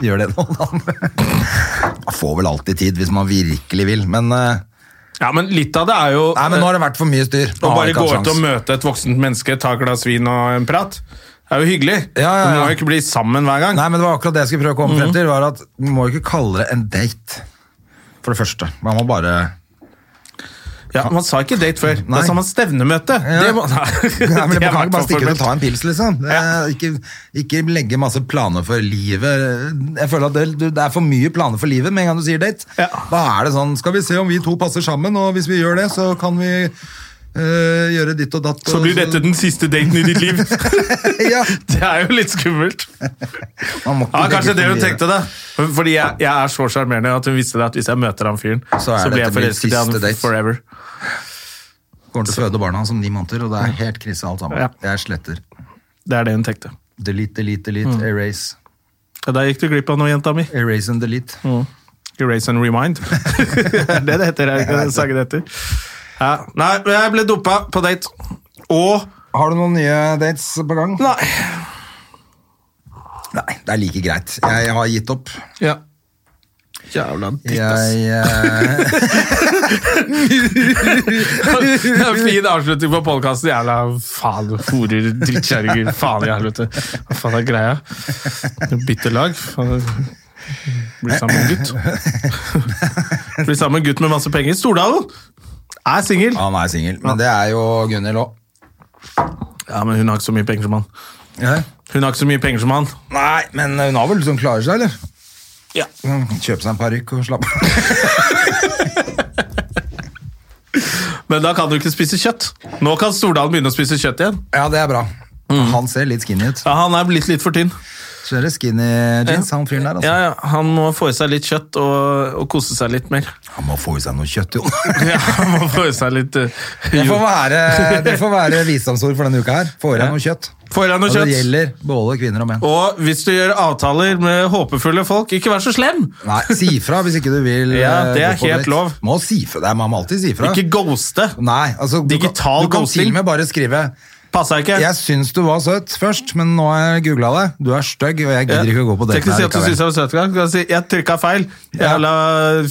gjøre det ene og det andre. Man får vel alltid tid hvis man virkelig vil, men, eh, Ja, men litt av det er jo eh, nei, men nå har det vært for mye styr. Nå Å har bare jeg gå ikke hatt ut og sjans. møte et voksent menneske, ta et glass vin og en prat. Det er jo hyggelig. Ja, ja, Du ja. må jo ikke bli sammen hver gang. (laughs) Nei, men det var akkurat det jeg skulle prøve å komme frem Mhm. til, var at man må jo ikke kalle det en date, for det første. Man må bare... (laughs) Ja, Man sa ikke date før. Nei. Da sa man stevnemøte. Det må, (laughs) nei, Nei, men det er man kan i hvert ikke bare fall stikke ut og formelt. ta en pils, liksom. Det er, ikke, ikke legge masse planer for livet. Jeg føler at det, du- det er for mye planer for livet med en gang du sier date. Ja. Da er det sånn, skal vi se om vi to passer sammen, og hvis vi gjør det, så kan vi øh, gjøre ditt og datt. Så og- blir dette den siste daten i ditt liv. (laughs) det (laughs) Ja, er jo litt skummelt. man må ikke Ja, legge Kanskje for det hun mye. tenkte, da. Fordi jeg, jeg er så sjarmerende at hun visste det at hvis jeg møter han fyren, Så så, er blir dette jeg min forelsket i siste han date. forever. Kommer til å føde barna hans om ni måneder, og det er helt krise alt sammen. Ja. Jeg sletter. Det er det hun tenkte. Delete, delete, delete, Mm. erase. Ja, Der gikk du glipp av noe, jenta mi. Erase and delete. Erase and (laughs) remind. Er det det heter? Er det ikke det sangen heter? Ja. Nei, men jeg ble dopa på date. Og Har du noen nye dates på gang? Nei. Nei, det er like greit. Jeg har gitt opp. Ja. Jævla dritt, ass. Jeg, (laughs) eh, Det er en fin avslutning på podkasten. Jævla faen, horer, drittkjerringer, faen i helvete. Hva faen er greia? Bytte lag. faen. Bli sammen med en gutt. Bli sammen med en gutt med masse penger. Stordalen er singel. han er singel, men det er jo Gunhild òg. Ja, men hun har ikke så mye penger som han. Hun har ikke så mye penger som han. Nei, men hun har vel liksom klarer seg, eller? Ja. Hun kan Kjøpe seg en parykk og slappe av. (laughs) Men da kan du ikke spise kjøtt. Nå kan Stordalen begynne å spise kjøtt igjen. Ja, det er bra. Mm. Han ser litt skinny ut. Ja, Han er blitt litt for tynn. Så er det skinny jeans, han fyren der. Ja, Altså. ja, Han må få i seg litt kjøtt og, og kose seg litt mer. (laughs) Han må få i seg noe kjøtt, jo. Ja, han må få i seg litt uh, Det får være, det får være visdomsord for denne uka her. Få i deg noe kjøtt. Får jeg noe Og det kjøtt? gjelder både kvinner og menn. Og hvis du gjør avtaler med håpefulle folk, ikke vær så slem! Nei, si fra hvis ikke du vil. Ja, eh, det er gå på helt date. lov. Må si fra. Det er- Man må alltid si fra. Ikke ghoste! Nei, altså du Digital kan, du kan ghosting. til og med bare skrive Passa ikke. Jeg syns du var søt først, men nå har jeg googla deg. Du er stygg, og jeg gidder ikke å gå på Tenk date å si at du likevel. synes jeg var søt engang. Du kan si 'jeg trykka feil', jævla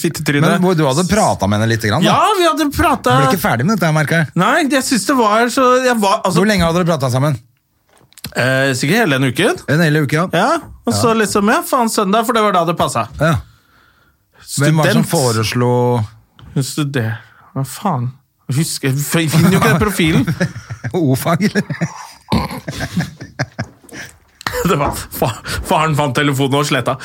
fittetryne. Men hvor- du hadde prata med henne litt? Grann, da. Ja, vi hadde prata Du ble ikke ferdig med dette, merker jeg. Nei, jeg syns det var så jeg var, altså, Hvor lenge hadde dere prata sammen? eh, Sikkert hele den uken. En hel uke, ja. Ja, Og så liksom Ja, faen, søndag, for det var da det passa. ja. Hvem var det som Student. foreslo (laughs) Hun studerer Hva faen? Jeg Husker, jeg finner jo ikke den profilen! O-fag, eller? (laughs) Det var, fa, faren fant telefonen og sletta. (laughs)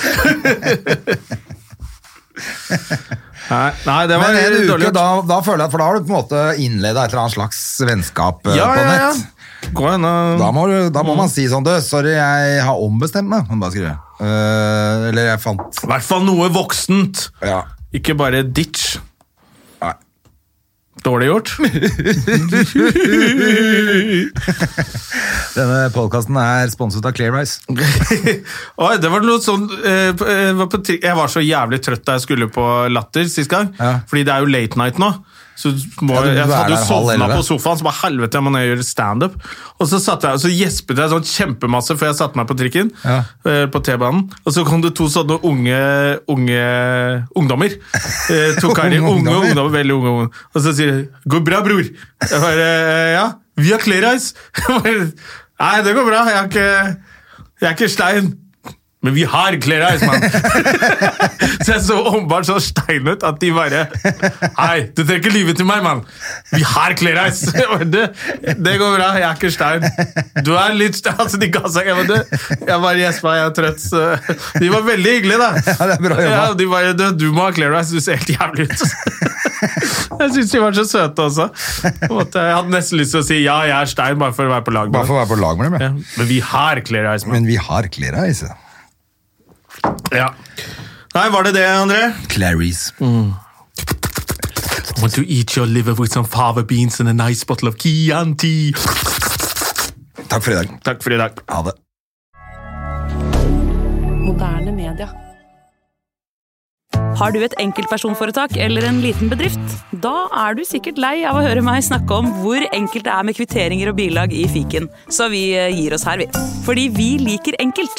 Nei, nei, det var Men en dårlig. uke, gjort. da, da føler jeg, for da har du på en måte innleda et eller annet slags vennskap eh, ja, på ja, nett. ja. Gå igjen, Da da. må, du, da må man si sånn, du, sorry, jeg har ombestemt meg. Kan du bare skrive. Eh, eller jeg fant I hvert fall noe voksent. Ja. Ikke bare ditch. Nei. Dårlig gjort. Denne podkasten er sponset av Clear Rice. (laughs) Oi, det var noe sånn eh, på- eh, var på ti- Jeg var så jævlig trøtt da jeg skulle på Latter sist gang. Ja. Fordi det er jo late night nå. Så må, Ja, jeg du er hadde jo der halv sovna elleve. på sofaen, så bare helvete, jeg må ned og gjøre standup. Og så satt jeg, og så gjespet jeg sånn kjempemasse før jeg satte meg på trikken. Ja. eh, På T-banen. Og så kom det to sånne unge, unge ungdommer. Eh, To karer. Unge Unge ungdommer. ungdommer, veldig unge ungdommer. Og så sier de 'Går bra, bror'. Jeg bare Ja, vi har Clear Eyes. Jeg bare, Nei, det går bra. Jeg er ikke, jeg er ikke stein. Men vi har Clear Eyes, mann! (laughs) så jeg så åpenbart så steinet at de bare Hei, du trenger ikke lyve til meg, mann! Vi har Clear Eyes! Jeg bare, «Du, Det går bra, jeg er ikke stein. Du er litt stein. (laughs) Altså, de ga seg. Jeg bare, «Du, jeg bare gjespa, jeg er trøtt. Så. De var veldig hyggelige, da. Ja, det er bra jobba. Ja, de bare Du, du må ha Clear Eyes, du ser helt jævlig ut. (laughs) jeg syns de var så søte også. På en måte, Jeg hadde nesten lyst til å si ja, jeg er stein, bare for å være på lag. med Bare for å være på lag med dem. dem. ja. jeg. Men vi har Clear Eyes, mann. Men vi har Clear Eyes. ja. Ja. Nei, var det det, André? Clarice. Want to eat your liver with some fava beans and a nice bottle of Chianti. Takk for i dag. Takk for i dag. Ha det. Moderne media. Har du et enkeltpersonforetak eller en liten bedrift? Da er du sikkert lei av å høre meg snakke om hvor enkelt det er med kvitteringer og bilag i fiken, så vi eh, gir oss her, vi. Fordi vi liker enkelt.